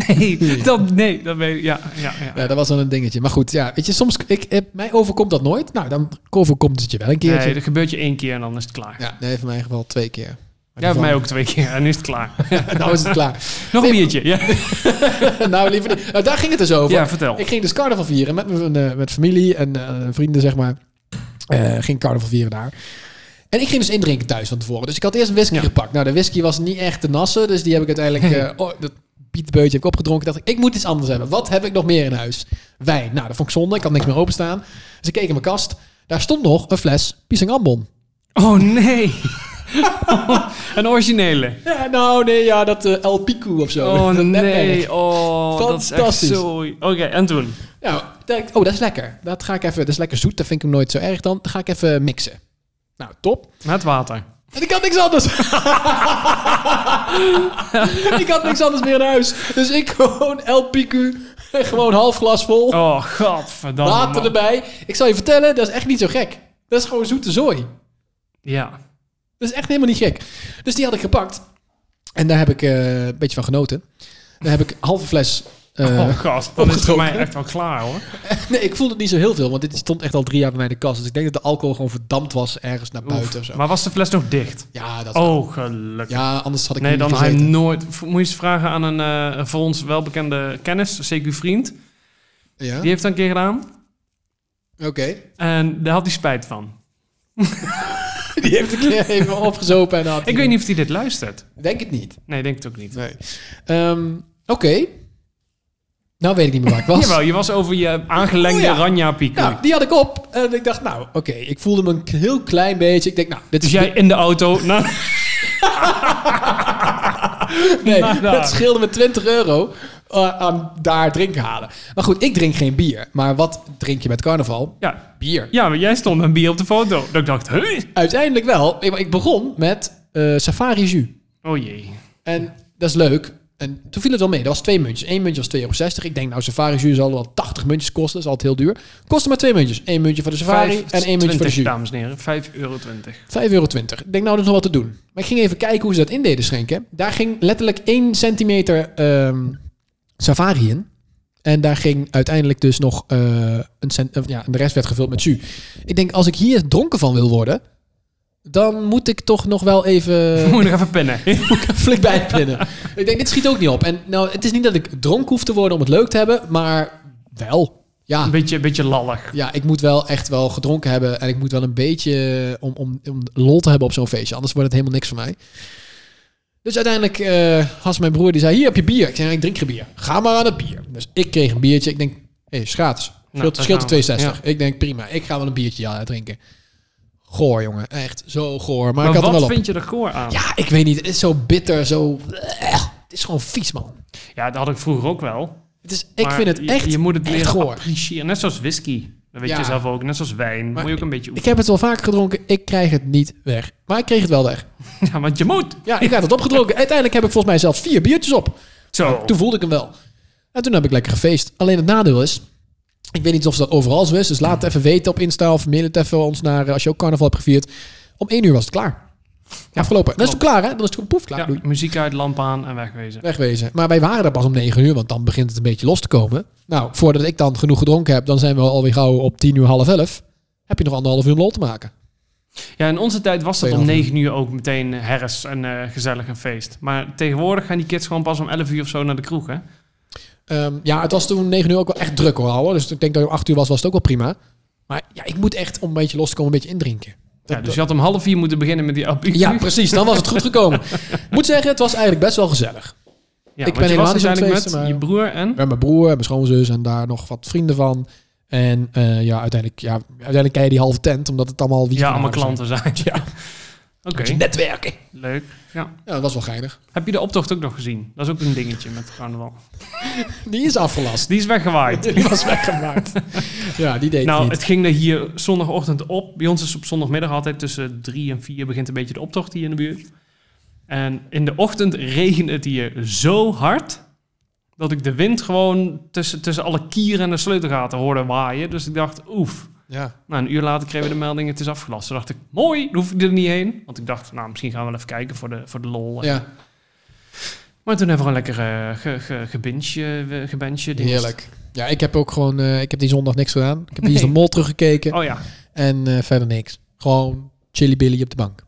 [SPEAKER 1] Nee, dat, nee, dat weet ik. Ja, ja, ja.
[SPEAKER 2] Ja, dat was dan een dingetje. Maar goed, ja, weet je, soms... Ik, eh, mij overkomt dat nooit. Nou, dan overkomt het je wel een keertje.
[SPEAKER 1] Nee, dat gebeurt je één keer en dan is het klaar.
[SPEAKER 2] ja, nee, voor mij in ieder geval twee keer.
[SPEAKER 1] Jij hebt mij ook twee keer en is het klaar.
[SPEAKER 2] nou is het klaar.
[SPEAKER 1] Nog een
[SPEAKER 2] Nee,
[SPEAKER 1] biertje. Ja,
[SPEAKER 2] nou, liever niet. Nou, daar ging het dus over.
[SPEAKER 1] ja vertel.
[SPEAKER 2] Ik ging dus carnaval vieren met, mijn eh, met familie en eh, vrienden, zeg maar. Eh ging carnaval vieren daar. En ik ging dus indrinken thuis van tevoren. Dus ik had eerst een whisky
[SPEAKER 1] Ja.
[SPEAKER 2] gepakt. Nou, de whisky was niet echt te nassen. Dus die heb ik uiteindelijk... eh oh, dat pietbeutje heb ik opgedronken. Dacht ik, ik moet iets anders hebben. Wat heb ik nog meer in huis? Wijn. Nou, dat vond ik zonde. Ik had niks meer openstaan. Dus ik keek in mijn kast. Daar stond nog een fles Pisang Ambon.
[SPEAKER 1] Oh, nee. een originele.
[SPEAKER 2] Ja, nou, nee, ja, dat eh, El Pico of zo.
[SPEAKER 1] Oh,
[SPEAKER 2] Dat netmerk.
[SPEAKER 1] nee. Oh, dat is echt
[SPEAKER 2] Fantastisch.
[SPEAKER 1] zo... Oké, en toen?
[SPEAKER 2] Nou, dacht ik, oh, dat is lekker. Dat ga ik even... Dat is lekker zoet. Dat vind ik hem nooit zo erg dan. Dat ga ik even mixen. Nou, top.
[SPEAKER 1] Met water.
[SPEAKER 2] En ik had niks anders. ik had niks anders meer in huis. Dus ik gewoon LPQ. Gewoon half glas vol.
[SPEAKER 1] Oh, godverdamme.
[SPEAKER 2] water
[SPEAKER 1] man.
[SPEAKER 2] erbij. Ik zal je vertellen, dat is echt niet zo gek. Dat is gewoon zoete zooi.
[SPEAKER 1] Ja.
[SPEAKER 2] Dat is echt helemaal niet gek. Dus die had ik gepakt. En daar heb ik eh, een beetje van genoten. Daar heb ik een halve fles. eh,
[SPEAKER 1] oh god, dan is het voor
[SPEAKER 2] opgetrokken.
[SPEAKER 1] mij echt wel klaar hoor.
[SPEAKER 2] Nee, ik voelde het niet zo heel veel, want dit stond echt al drie jaar bij mij in de kast. Dus ik denk dat de alcohol gewoon verdampt was ergens naar buiten of zo.
[SPEAKER 1] Maar was de fles nog dicht?
[SPEAKER 2] Ja, dat
[SPEAKER 1] Oh, gelukkig.
[SPEAKER 2] ja, anders had ik
[SPEAKER 1] nee,
[SPEAKER 2] niet
[SPEAKER 1] dan had je
[SPEAKER 2] gezeten.
[SPEAKER 1] nooit... v- Moet je eens vragen aan een eh, voor ons welbekende kennis, CQ Vriend.
[SPEAKER 2] Ja,
[SPEAKER 1] Die heeft dat een keer gedaan.
[SPEAKER 2] oké.
[SPEAKER 1] En daar had hij spijt van.
[SPEAKER 2] Die heeft een keer even opgezopen en had.
[SPEAKER 1] Ik weet niet of hij dit luistert.
[SPEAKER 2] Denk het niet.
[SPEAKER 1] Nee, denk het ook niet.
[SPEAKER 2] Nee. Oké. Nou weet ik niet meer waar ik was.
[SPEAKER 1] Jawel, je was over je aangelengde
[SPEAKER 2] Oh, ja.
[SPEAKER 1] Ranja Pico.
[SPEAKER 2] nou, die had ik op. En ik dacht, nou, oké. Ik voelde me een heel klein beetje. Ik denk, nou, dit
[SPEAKER 1] dus
[SPEAKER 2] is...
[SPEAKER 1] jij in de auto. Nou,
[SPEAKER 2] Nee,
[SPEAKER 1] Nou, nou.
[SPEAKER 2] dat scheelde me 20 euro eh, aan daar drinken halen. Maar goed, ik drink geen bier. Maar wat drink je met carnaval?
[SPEAKER 1] Ja.
[SPEAKER 2] Bier.
[SPEAKER 1] ja, maar jij stond met een bier op de foto. Dat ik dacht, huh?
[SPEAKER 2] Uiteindelijk wel. Ik, ik begon met eh, safari jus.
[SPEAKER 1] Oh jee.
[SPEAKER 2] En dat is leuk. En toen viel het wel mee. Dat was twee muntjes. Eén muntje was 2,60 euro. Ik denk, nou, safari jus zal wel 80 muntjes kosten. Dat is altijd heel duur. Kostte maar twee muntjes. Eén muntje voor de safari
[SPEAKER 1] Vijf-
[SPEAKER 2] en één muntje voor de
[SPEAKER 1] 20,
[SPEAKER 2] jus. 5,20
[SPEAKER 1] dames en heren. 5,20 euro.
[SPEAKER 2] euro. Ik denk, nou, dat is nog wat te doen. Maar ik ging even kijken hoe ze dat indeden schenken. Daar ging letterlijk 1 centimeter ehm, safari in. En daar ging uiteindelijk dus nog eh, een cent... of ja, en de rest werd gevuld met jus. Ik denk, als ik hier dronken van wil worden... dan moet ik toch nog wel even...
[SPEAKER 1] Moet je nog even pennen.
[SPEAKER 2] flink bij het plannen. ik denk, dit schiet ook niet op. En nou, het is niet dat ik dronken hoef te worden om het leuk te hebben, maar wel. Ja,
[SPEAKER 1] Een beetje, een beetje lallig.
[SPEAKER 2] ja ik moet wel echt wel gedronken hebben en ik moet wel een beetje eh, om, om, om lol te hebben op zo'n feestje. Anders wordt het helemaal niks voor mij. Dus uiteindelijk eh had mijn broer, die zei, hier heb je bier. Ik zei, ik drink geen bier. Ga maar aan het bier. Dus ik kreeg een biertje. Ik denk, hé, hey, is gratis.
[SPEAKER 1] Nou,
[SPEAKER 2] Scheelt,
[SPEAKER 1] daar
[SPEAKER 2] scheelt
[SPEAKER 1] gaan
[SPEAKER 2] er
[SPEAKER 1] we.
[SPEAKER 2] 62. Ik denk, prima. Ik ga wel een biertje ja, drinken. Goor, jongen. Echt zo goor. Maar,
[SPEAKER 1] Maar
[SPEAKER 2] ik had hem wel
[SPEAKER 1] wat
[SPEAKER 2] op.
[SPEAKER 1] vind je er goor aan? Ja.
[SPEAKER 2] Ja, ik weet niet. Het is zo bitter, zo... eh, Het is gewoon vies, man.
[SPEAKER 1] dat had ik vroeger ook wel.
[SPEAKER 2] Het is, ik
[SPEAKER 1] Maar
[SPEAKER 2] vind het
[SPEAKER 1] je-
[SPEAKER 2] echt,
[SPEAKER 1] Je, moet het
[SPEAKER 2] echt
[SPEAKER 1] leren
[SPEAKER 2] goor.
[SPEAKER 1] appreciëren. Net zoals whisky. Dat weet
[SPEAKER 2] Ja.
[SPEAKER 1] je zelf ook. Net zoals wijn.
[SPEAKER 2] Maar
[SPEAKER 1] moet je ook een beetje
[SPEAKER 2] Ik heb het wel vaker gedronken. Ik krijg het niet weg. Maar ik kreeg het wel weg.
[SPEAKER 1] oefenen. Ja, want je moet.
[SPEAKER 2] Ja, ik had het opgedronken. Uiteindelijk heb ik volgens mij zelfs vier biertjes op.
[SPEAKER 1] Zo.
[SPEAKER 2] Toen voelde ik hem wel. En toen heb ik lekker gefeest. Alleen het nadeel is... Ik weet niet of dat overal zo is. Dus laat het even weten op Insta of mail het even ons naar... eh, Als je ook carnaval hebt gevierd. Om één uur was het klaar. Afgelopen. Dan is het klaar, hè? Dan is het gewoon poef klaar.
[SPEAKER 1] Ja,
[SPEAKER 2] Doei.
[SPEAKER 1] muziek uit, lamp aan en wegwezen.
[SPEAKER 2] Wegwezen. Maar wij waren er pas om 9 uur, want dan begint het een beetje los te komen. Nou, voordat ik dan genoeg gedronken heb, dan zijn we alweer gauw op 10 uur half 11. Heb je nog anderhalf uur om lol te maken.
[SPEAKER 1] Ja, in onze tijd was dat om
[SPEAKER 2] Tweeënhalf
[SPEAKER 1] 9 uur ook meteen herfst en eh, gezellig een feest. Maar tegenwoordig gaan die kids gewoon pas om 11 uur of zo naar de kroeg, hè?
[SPEAKER 2] Ehm, ja, het was toen 9 uur ook wel echt druk hoor, ouwe. Dus ik denk dat om 8 uur was, was het ook wel prima. Maar ja, ik moet echt om een beetje los te komen, een beetje indrinken.
[SPEAKER 1] Ja, dus je had om half vier moeten beginnen met die aperitief.
[SPEAKER 2] Ja, precies. Dan was het goed gekomen. Ik moet zeggen, het was eigenlijk best wel gezellig.
[SPEAKER 1] Ja,
[SPEAKER 2] Ik
[SPEAKER 1] want
[SPEAKER 2] ben
[SPEAKER 1] je was
[SPEAKER 2] helemaal niet zo'n
[SPEAKER 1] uiteindelijk met
[SPEAKER 2] feesten, maar-
[SPEAKER 1] je broer en...
[SPEAKER 2] Met mijn broer, en mijn schoonzus en daar nog wat vrienden van. En eh, ja, uiteindelijk, ja, uiteindelijk kei je die halve tent, omdat het allemaal...
[SPEAKER 1] Ja, allemaal
[SPEAKER 2] wiegelaars zijn.
[SPEAKER 1] klanten zijn.
[SPEAKER 2] Ja.
[SPEAKER 1] Oké,
[SPEAKER 2] Moet je Netwerken.
[SPEAKER 1] leuk. Ja.
[SPEAKER 2] Ja, dat was wel geinig.
[SPEAKER 1] Heb je de optocht ook nog gezien? Dat is ook een dingetje met carnaval.
[SPEAKER 2] Die is afgelast.
[SPEAKER 1] Die is weggewaaid.
[SPEAKER 2] Die was weggemaakt. ja, die deed het
[SPEAKER 1] Nou,
[SPEAKER 2] niet.
[SPEAKER 1] het ging er hier zondagochtend op. Bij ons is op zondagmiddag altijd tussen drie en vier begint een beetje de optocht hier in de buurt. En in de ochtend regende het hier zo hard dat ik de wind gewoon tussen, tussen alle kieren en de sleutelgaten hoorde waaien. Dus ik dacht, oef.
[SPEAKER 2] ja.
[SPEAKER 1] Nou, een uur later kregen we de melding, het is afgelast. Toen dacht ik, mooi, dan hoef ik er niet heen. Want ik dacht, nou, misschien gaan we wel even kijken voor de, voor de lol.
[SPEAKER 2] ja,
[SPEAKER 1] Maar toen hebben we gewoon lekker eh ge, ge, gebinge, eh, gebenche. dingen.
[SPEAKER 2] heerlijk. Ja, ik heb ook gewoon... eh, ik heb die zondag niks gedaan. Ik heb die
[SPEAKER 1] Nee.
[SPEAKER 2] de mol teruggekeken.
[SPEAKER 1] Oh ja.
[SPEAKER 2] En eh, verder niks. Gewoon chili-billy op de bank.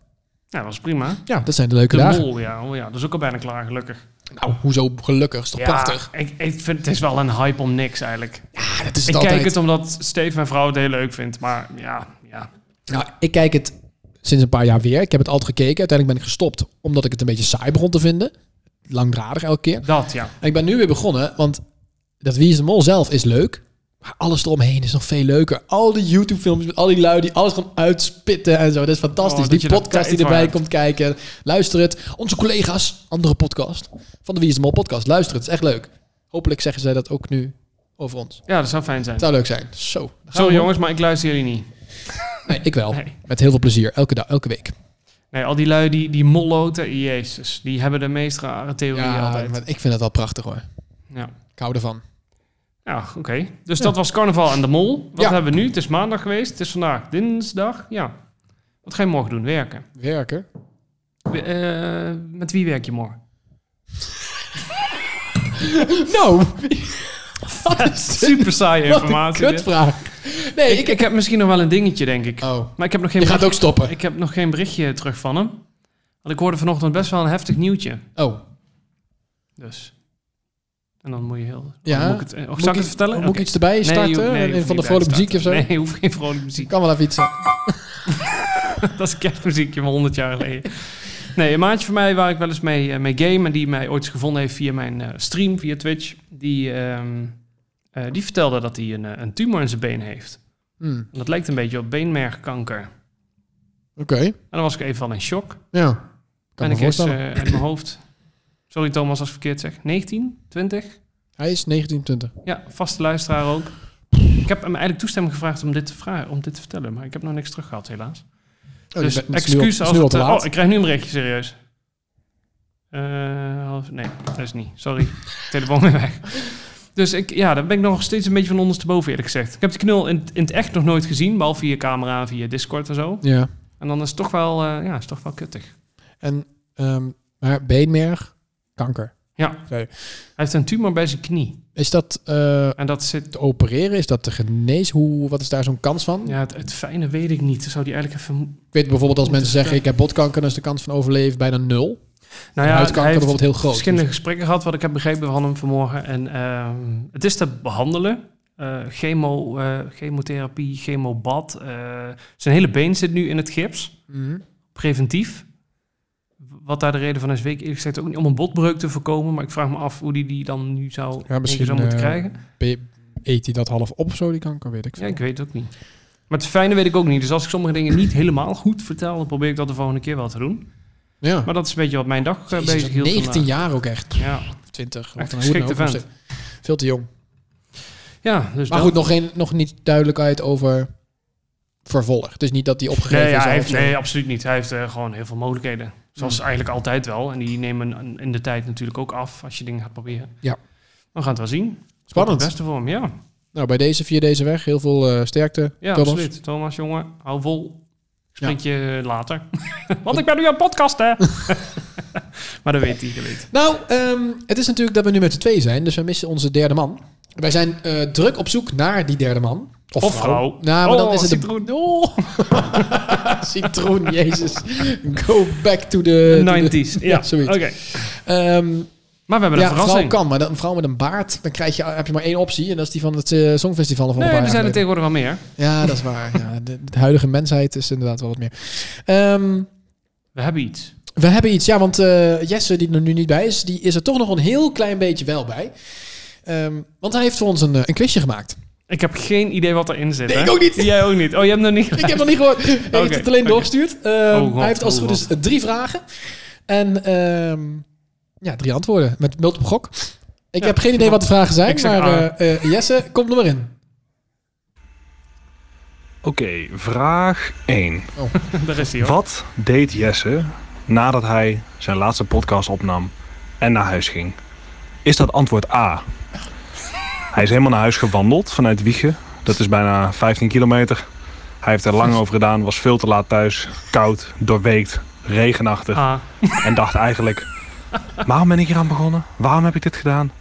[SPEAKER 1] ja, dat was prima.
[SPEAKER 2] Ja, dat zijn de leuke
[SPEAKER 1] De
[SPEAKER 2] dagen.
[SPEAKER 1] mol, ja. Oh ja. Dat is ook al bijna klaar, gelukkig.
[SPEAKER 2] Nou, hoezo gelukkig? Is toch prachtig?
[SPEAKER 1] Ik, ik vind het is wel een hype om niks eigenlijk.
[SPEAKER 2] Ja, dat is
[SPEAKER 1] ik
[SPEAKER 2] het altijd.
[SPEAKER 1] kijk het omdat Steve mijn vrouw het heel leuk vindt. Maar ja, ja.
[SPEAKER 2] Nou, ik kijk het sinds een paar jaar weer. Ik heb het altijd gekeken. Uiteindelijk ben ik gestopt, omdat ik het een beetje saai begon te vinden. Langdradig elke keer.
[SPEAKER 1] dat ja.
[SPEAKER 2] En ik ben nu weer begonnen, want dat Wie is de Mol zelf is leuk. Maar alles eromheen is nog veel leuker. Al die YouTube-filmpjes met al die lui die alles gewoon uitspitten en zo. Dat is fantastisch.
[SPEAKER 1] Oh, dat
[SPEAKER 2] die
[SPEAKER 1] je daar
[SPEAKER 2] podcast
[SPEAKER 1] tijd
[SPEAKER 2] die
[SPEAKER 1] voor
[SPEAKER 2] erbij
[SPEAKER 1] hebt.
[SPEAKER 2] komt kijken. Luister het. Onze collega's, andere podcast van de Wie is de Mol podcast. Luister het, is echt leuk. Hopelijk zeggen zij dat ook nu over ons.
[SPEAKER 1] Ja, dat zou fijn zijn.
[SPEAKER 2] Het zou leuk zijn. Zo. dan gaan
[SPEAKER 1] Sorry
[SPEAKER 2] we-
[SPEAKER 1] jongens, maar ik luister jullie niet.
[SPEAKER 2] Nee, ik wel.
[SPEAKER 1] Nee.
[SPEAKER 2] Met heel veel plezier. Elke, dag, elke week.
[SPEAKER 1] Nee, al die lui die, die molloten, jezus. Die hebben de meest rare theorieën altijd.
[SPEAKER 2] maar ik vind het wel prachtig hoor.
[SPEAKER 1] Ja,
[SPEAKER 2] Ik hou ervan.
[SPEAKER 1] ja oké. Dus dat was carnaval en de mol. Wat
[SPEAKER 2] Ja.
[SPEAKER 1] hebben we nu? Het is maandag geweest. Het is vandaag dinsdag. Ja. Wat ga je morgen doen? Werken.
[SPEAKER 2] Werken?
[SPEAKER 1] We- eh, met wie werk je morgen?
[SPEAKER 2] Nou,
[SPEAKER 1] Super saaie informatie. dit.
[SPEAKER 2] kutvraag. Nee,
[SPEAKER 1] Ik, ik heb misschien nog wel een dingetje, denk ik.
[SPEAKER 2] Oh,
[SPEAKER 1] Maar ik heb nog geen
[SPEAKER 2] je gaat ook stoppen.
[SPEAKER 1] Oh, Ik heb nog geen berichtje terug van hem. Want ik hoorde vanochtend best wel een heftig nieuwtje.
[SPEAKER 2] Oh,
[SPEAKER 1] Dus. En dan moet je heel...
[SPEAKER 2] Ja?
[SPEAKER 1] Moet ik het, eh, zal
[SPEAKER 2] Moet
[SPEAKER 1] ik het
[SPEAKER 2] iets-
[SPEAKER 1] vertellen?
[SPEAKER 2] Moet ik
[SPEAKER 1] Oké.
[SPEAKER 2] iets erbij
[SPEAKER 1] Nee,
[SPEAKER 2] starten?
[SPEAKER 1] joh, nee,
[SPEAKER 2] Een
[SPEAKER 1] hoeft
[SPEAKER 2] van de
[SPEAKER 1] niet
[SPEAKER 2] vrolijke
[SPEAKER 1] bij te
[SPEAKER 2] muziek of zo?
[SPEAKER 1] starten. Nee, hoeft geen vrolijke muziek.
[SPEAKER 2] Kan wel even iets zijn.
[SPEAKER 1] Dat is kerstmuziekje van 100 jaar geleden. Nee, een maatje van mij waar ik wel eens mee, eh, mee game... en die mij ooit eens gevonden heeft via mijn eh, stream, via Twitch... die, ehm, eh, die vertelde dat hij een, eh, een tumor in zijn been heeft.
[SPEAKER 2] Hmm,
[SPEAKER 1] En dat lijkt een beetje op beenmergkanker.
[SPEAKER 2] Oké,
[SPEAKER 1] En dan was ik even van in shock.
[SPEAKER 2] ja. Kan
[SPEAKER 1] en
[SPEAKER 2] ik
[SPEAKER 1] ik
[SPEAKER 2] me
[SPEAKER 1] is
[SPEAKER 2] voorstellen.
[SPEAKER 1] eh, uit mijn hoofd. Sorry Thomas als ik verkeerd zeg. 19? 20?
[SPEAKER 2] Hij is Oh, 1920.
[SPEAKER 1] Ja, vaste luisteraar ook. Ik heb hem eigenlijk toestemming gevraagd om dit te, vragen, om dit te vertellen, maar ik heb nog niks terug gehad helaas.
[SPEAKER 2] Oh,
[SPEAKER 1] dus
[SPEAKER 2] je bent- het is nu al-
[SPEAKER 1] excuus
[SPEAKER 2] het is
[SPEAKER 1] als
[SPEAKER 2] nu al
[SPEAKER 1] het...
[SPEAKER 2] te
[SPEAKER 1] eh,
[SPEAKER 2] laat.
[SPEAKER 1] oh, ik krijg nu een berichtje, serieus. Eh, half- nee, dat is niet. Sorry. Telefoon weer weg. Dus ik, ja, daar ben ik nog steeds een beetje van ondersteboven eerlijk gezegd. Ik heb die knul in, in het echt nog nooit gezien, behalve via camera, via Discord en zo.
[SPEAKER 2] Ja.
[SPEAKER 1] En dan is het toch wel, eh, ja, is toch wel kuttig.
[SPEAKER 2] En, ehm, maar beenmerg, kanker.
[SPEAKER 1] Ja.
[SPEAKER 2] Nee.
[SPEAKER 1] Hij heeft een tumor bij zijn knie.
[SPEAKER 2] Is dat eh,
[SPEAKER 1] En dat zit...
[SPEAKER 2] te opereren? Is dat te genezen? Hoe, wat is daar zo'n kans van?
[SPEAKER 1] Ja, het, het fijne weet ik niet. Zou die eigenlijk even... Nou
[SPEAKER 2] Ik weet bijvoorbeeld als
[SPEAKER 1] Moet het,
[SPEAKER 2] mensen zeggen
[SPEAKER 1] eh,
[SPEAKER 2] ik heb botkanker, dan is de kans van overleven bijna nul.
[SPEAKER 1] Nou ja,
[SPEAKER 2] huidkanker
[SPEAKER 1] hij heeft-
[SPEAKER 2] bijvoorbeeld heel groot. dus-
[SPEAKER 1] verschillende gesprekken gehad, wat ik heb begrepen van hem vanmorgen. En ehm, het is te behandelen. Eh, chemo, eh, chemotherapie, chemobad. eh, zijn hele been zit nu in het gips.
[SPEAKER 2] Mhm.
[SPEAKER 1] Preventief. Wat daar de reden van is, weet ik eerlijk gezegd ook niet. Om een botbreuk te voorkomen. Maar ik vraag me af hoe die die dan nu zou,
[SPEAKER 2] Ja, misschien,
[SPEAKER 1] zou moeten
[SPEAKER 2] eh,
[SPEAKER 1] krijgen.
[SPEAKER 2] Be- Eet hij dat half op, zo die kanker, weet ik
[SPEAKER 1] Ja,
[SPEAKER 2] veel.
[SPEAKER 1] ik weet het ook niet. Maar het fijne weet ik ook niet. Dus als ik sommige dingen niet helemaal goed vertel, dan probeer ik dat de volgende keer wel te doen.
[SPEAKER 2] Ja.
[SPEAKER 1] Maar dat is een beetje wat mijn dag eh,
[SPEAKER 2] Jezus,
[SPEAKER 1] bezig hield.
[SPEAKER 2] 19
[SPEAKER 1] vandaag.
[SPEAKER 2] jaar ook echt.
[SPEAKER 1] Ja,
[SPEAKER 2] 20.
[SPEAKER 1] Echt
[SPEAKER 2] een
[SPEAKER 1] een geschikte
[SPEAKER 2] hoed nou,
[SPEAKER 1] vent.
[SPEAKER 2] nog steeds. Veel te jong.
[SPEAKER 1] ja dus
[SPEAKER 2] Maar
[SPEAKER 1] dat.
[SPEAKER 2] goed, nog, geen, nog niet duidelijkheid over vervolg. Dus niet dat die opgegeven
[SPEAKER 1] Nee, ja,
[SPEAKER 2] is.
[SPEAKER 1] hij
[SPEAKER 2] al
[SPEAKER 1] heeft,
[SPEAKER 2] of zo.
[SPEAKER 1] nee, absoluut niet. Hij heeft eh, gewoon heel veel mogelijkheden. Zoals eigenlijk altijd wel. En die nemen aan- in de tijd natuurlijk ook af als je dingen gaat proberen.
[SPEAKER 2] Ja.
[SPEAKER 1] We gaan het wel zien.
[SPEAKER 2] Spannend.
[SPEAKER 1] Het beste voor hem, ja.
[SPEAKER 2] Nou, bij deze, via deze weg, heel veel eh, sterkte.
[SPEAKER 1] Ja,
[SPEAKER 2] Thomas.
[SPEAKER 1] absoluut. Thomas, jongen, hou vol. Ik Spreek je later. Want ik ben nu aan het podcast, hè. maar dat weet hij, dat weet hij.
[SPEAKER 2] Nou, ehm, het is natuurlijk dat we nu met z'n tweeën zijn, dus we missen onze derde man. Wij zijn eh, druk op zoek naar die derde man.
[SPEAKER 1] Of vrouw.
[SPEAKER 2] Nou, maar dan
[SPEAKER 1] Oh,
[SPEAKER 2] is het
[SPEAKER 1] citroen.
[SPEAKER 2] De... Oh. citroen, jezus. Go back to the... to the-
[SPEAKER 1] 90s. Ja,
[SPEAKER 2] Eh, zoiets.
[SPEAKER 1] Oké.
[SPEAKER 2] Ehm,
[SPEAKER 1] Maar we hebben een
[SPEAKER 2] ja, vrouw
[SPEAKER 1] verrassing.
[SPEAKER 2] kan, maar dan, een vrouw met een baard, dan krijg je, heb je maar één optie. En dat is die van het eh, Songfestival van een
[SPEAKER 1] Nee,
[SPEAKER 2] paar
[SPEAKER 1] er
[SPEAKER 2] jaar
[SPEAKER 1] zijn er
[SPEAKER 2] geleden.
[SPEAKER 1] tegenwoordig wel meer.
[SPEAKER 2] Ja, dat is waar. Ja, de, de huidige mensheid is inderdaad wel wat meer. Ehm,
[SPEAKER 1] We hebben iets.
[SPEAKER 2] we hebben iets, ja, want eh, Jesse, die er nu niet bij is, die is er toch nog een heel klein beetje wel bij. Ehm, want hij heeft voor ons een, eh, een quizje gemaakt.
[SPEAKER 1] Ik heb geen idee wat erin zit.
[SPEAKER 2] Nee,
[SPEAKER 1] hè?
[SPEAKER 2] ik ook niet.
[SPEAKER 1] Jij ook niet. Oh, je hebt nog niet.
[SPEAKER 2] Ik heb nog niet gehoord. Hij heeft het alleen
[SPEAKER 1] oké.
[SPEAKER 2] doorgestuurd. Ehm,
[SPEAKER 1] Oh, God,
[SPEAKER 2] hij heeft als het
[SPEAKER 1] oh,
[SPEAKER 2] goed is eh, drie vragen. En ehm, ja, drie antwoorden met multiple gok. Ik
[SPEAKER 1] Ja,
[SPEAKER 2] heb geen idee wat de vragen zijn,
[SPEAKER 1] ik zeg
[SPEAKER 2] maar
[SPEAKER 1] A.
[SPEAKER 2] eh, eh, Jesse, kom er maar in.
[SPEAKER 4] Oké, vraag 1.
[SPEAKER 1] Daar is hij hoor.
[SPEAKER 4] Wat deed Jesse nadat hij zijn laatste podcast opnam en naar huis ging? Is dat antwoord A? Hij is helemaal naar huis gewandeld vanuit Wiegen. Dat is bijna 15 kilometer. Hij heeft er lang over gedaan, was veel te laat thuis. Koud, doorweekt, regenachtig.
[SPEAKER 1] Ah.
[SPEAKER 4] En dacht eigenlijk, waarom ben ik hier aan begonnen? Waarom heb ik dit gedaan?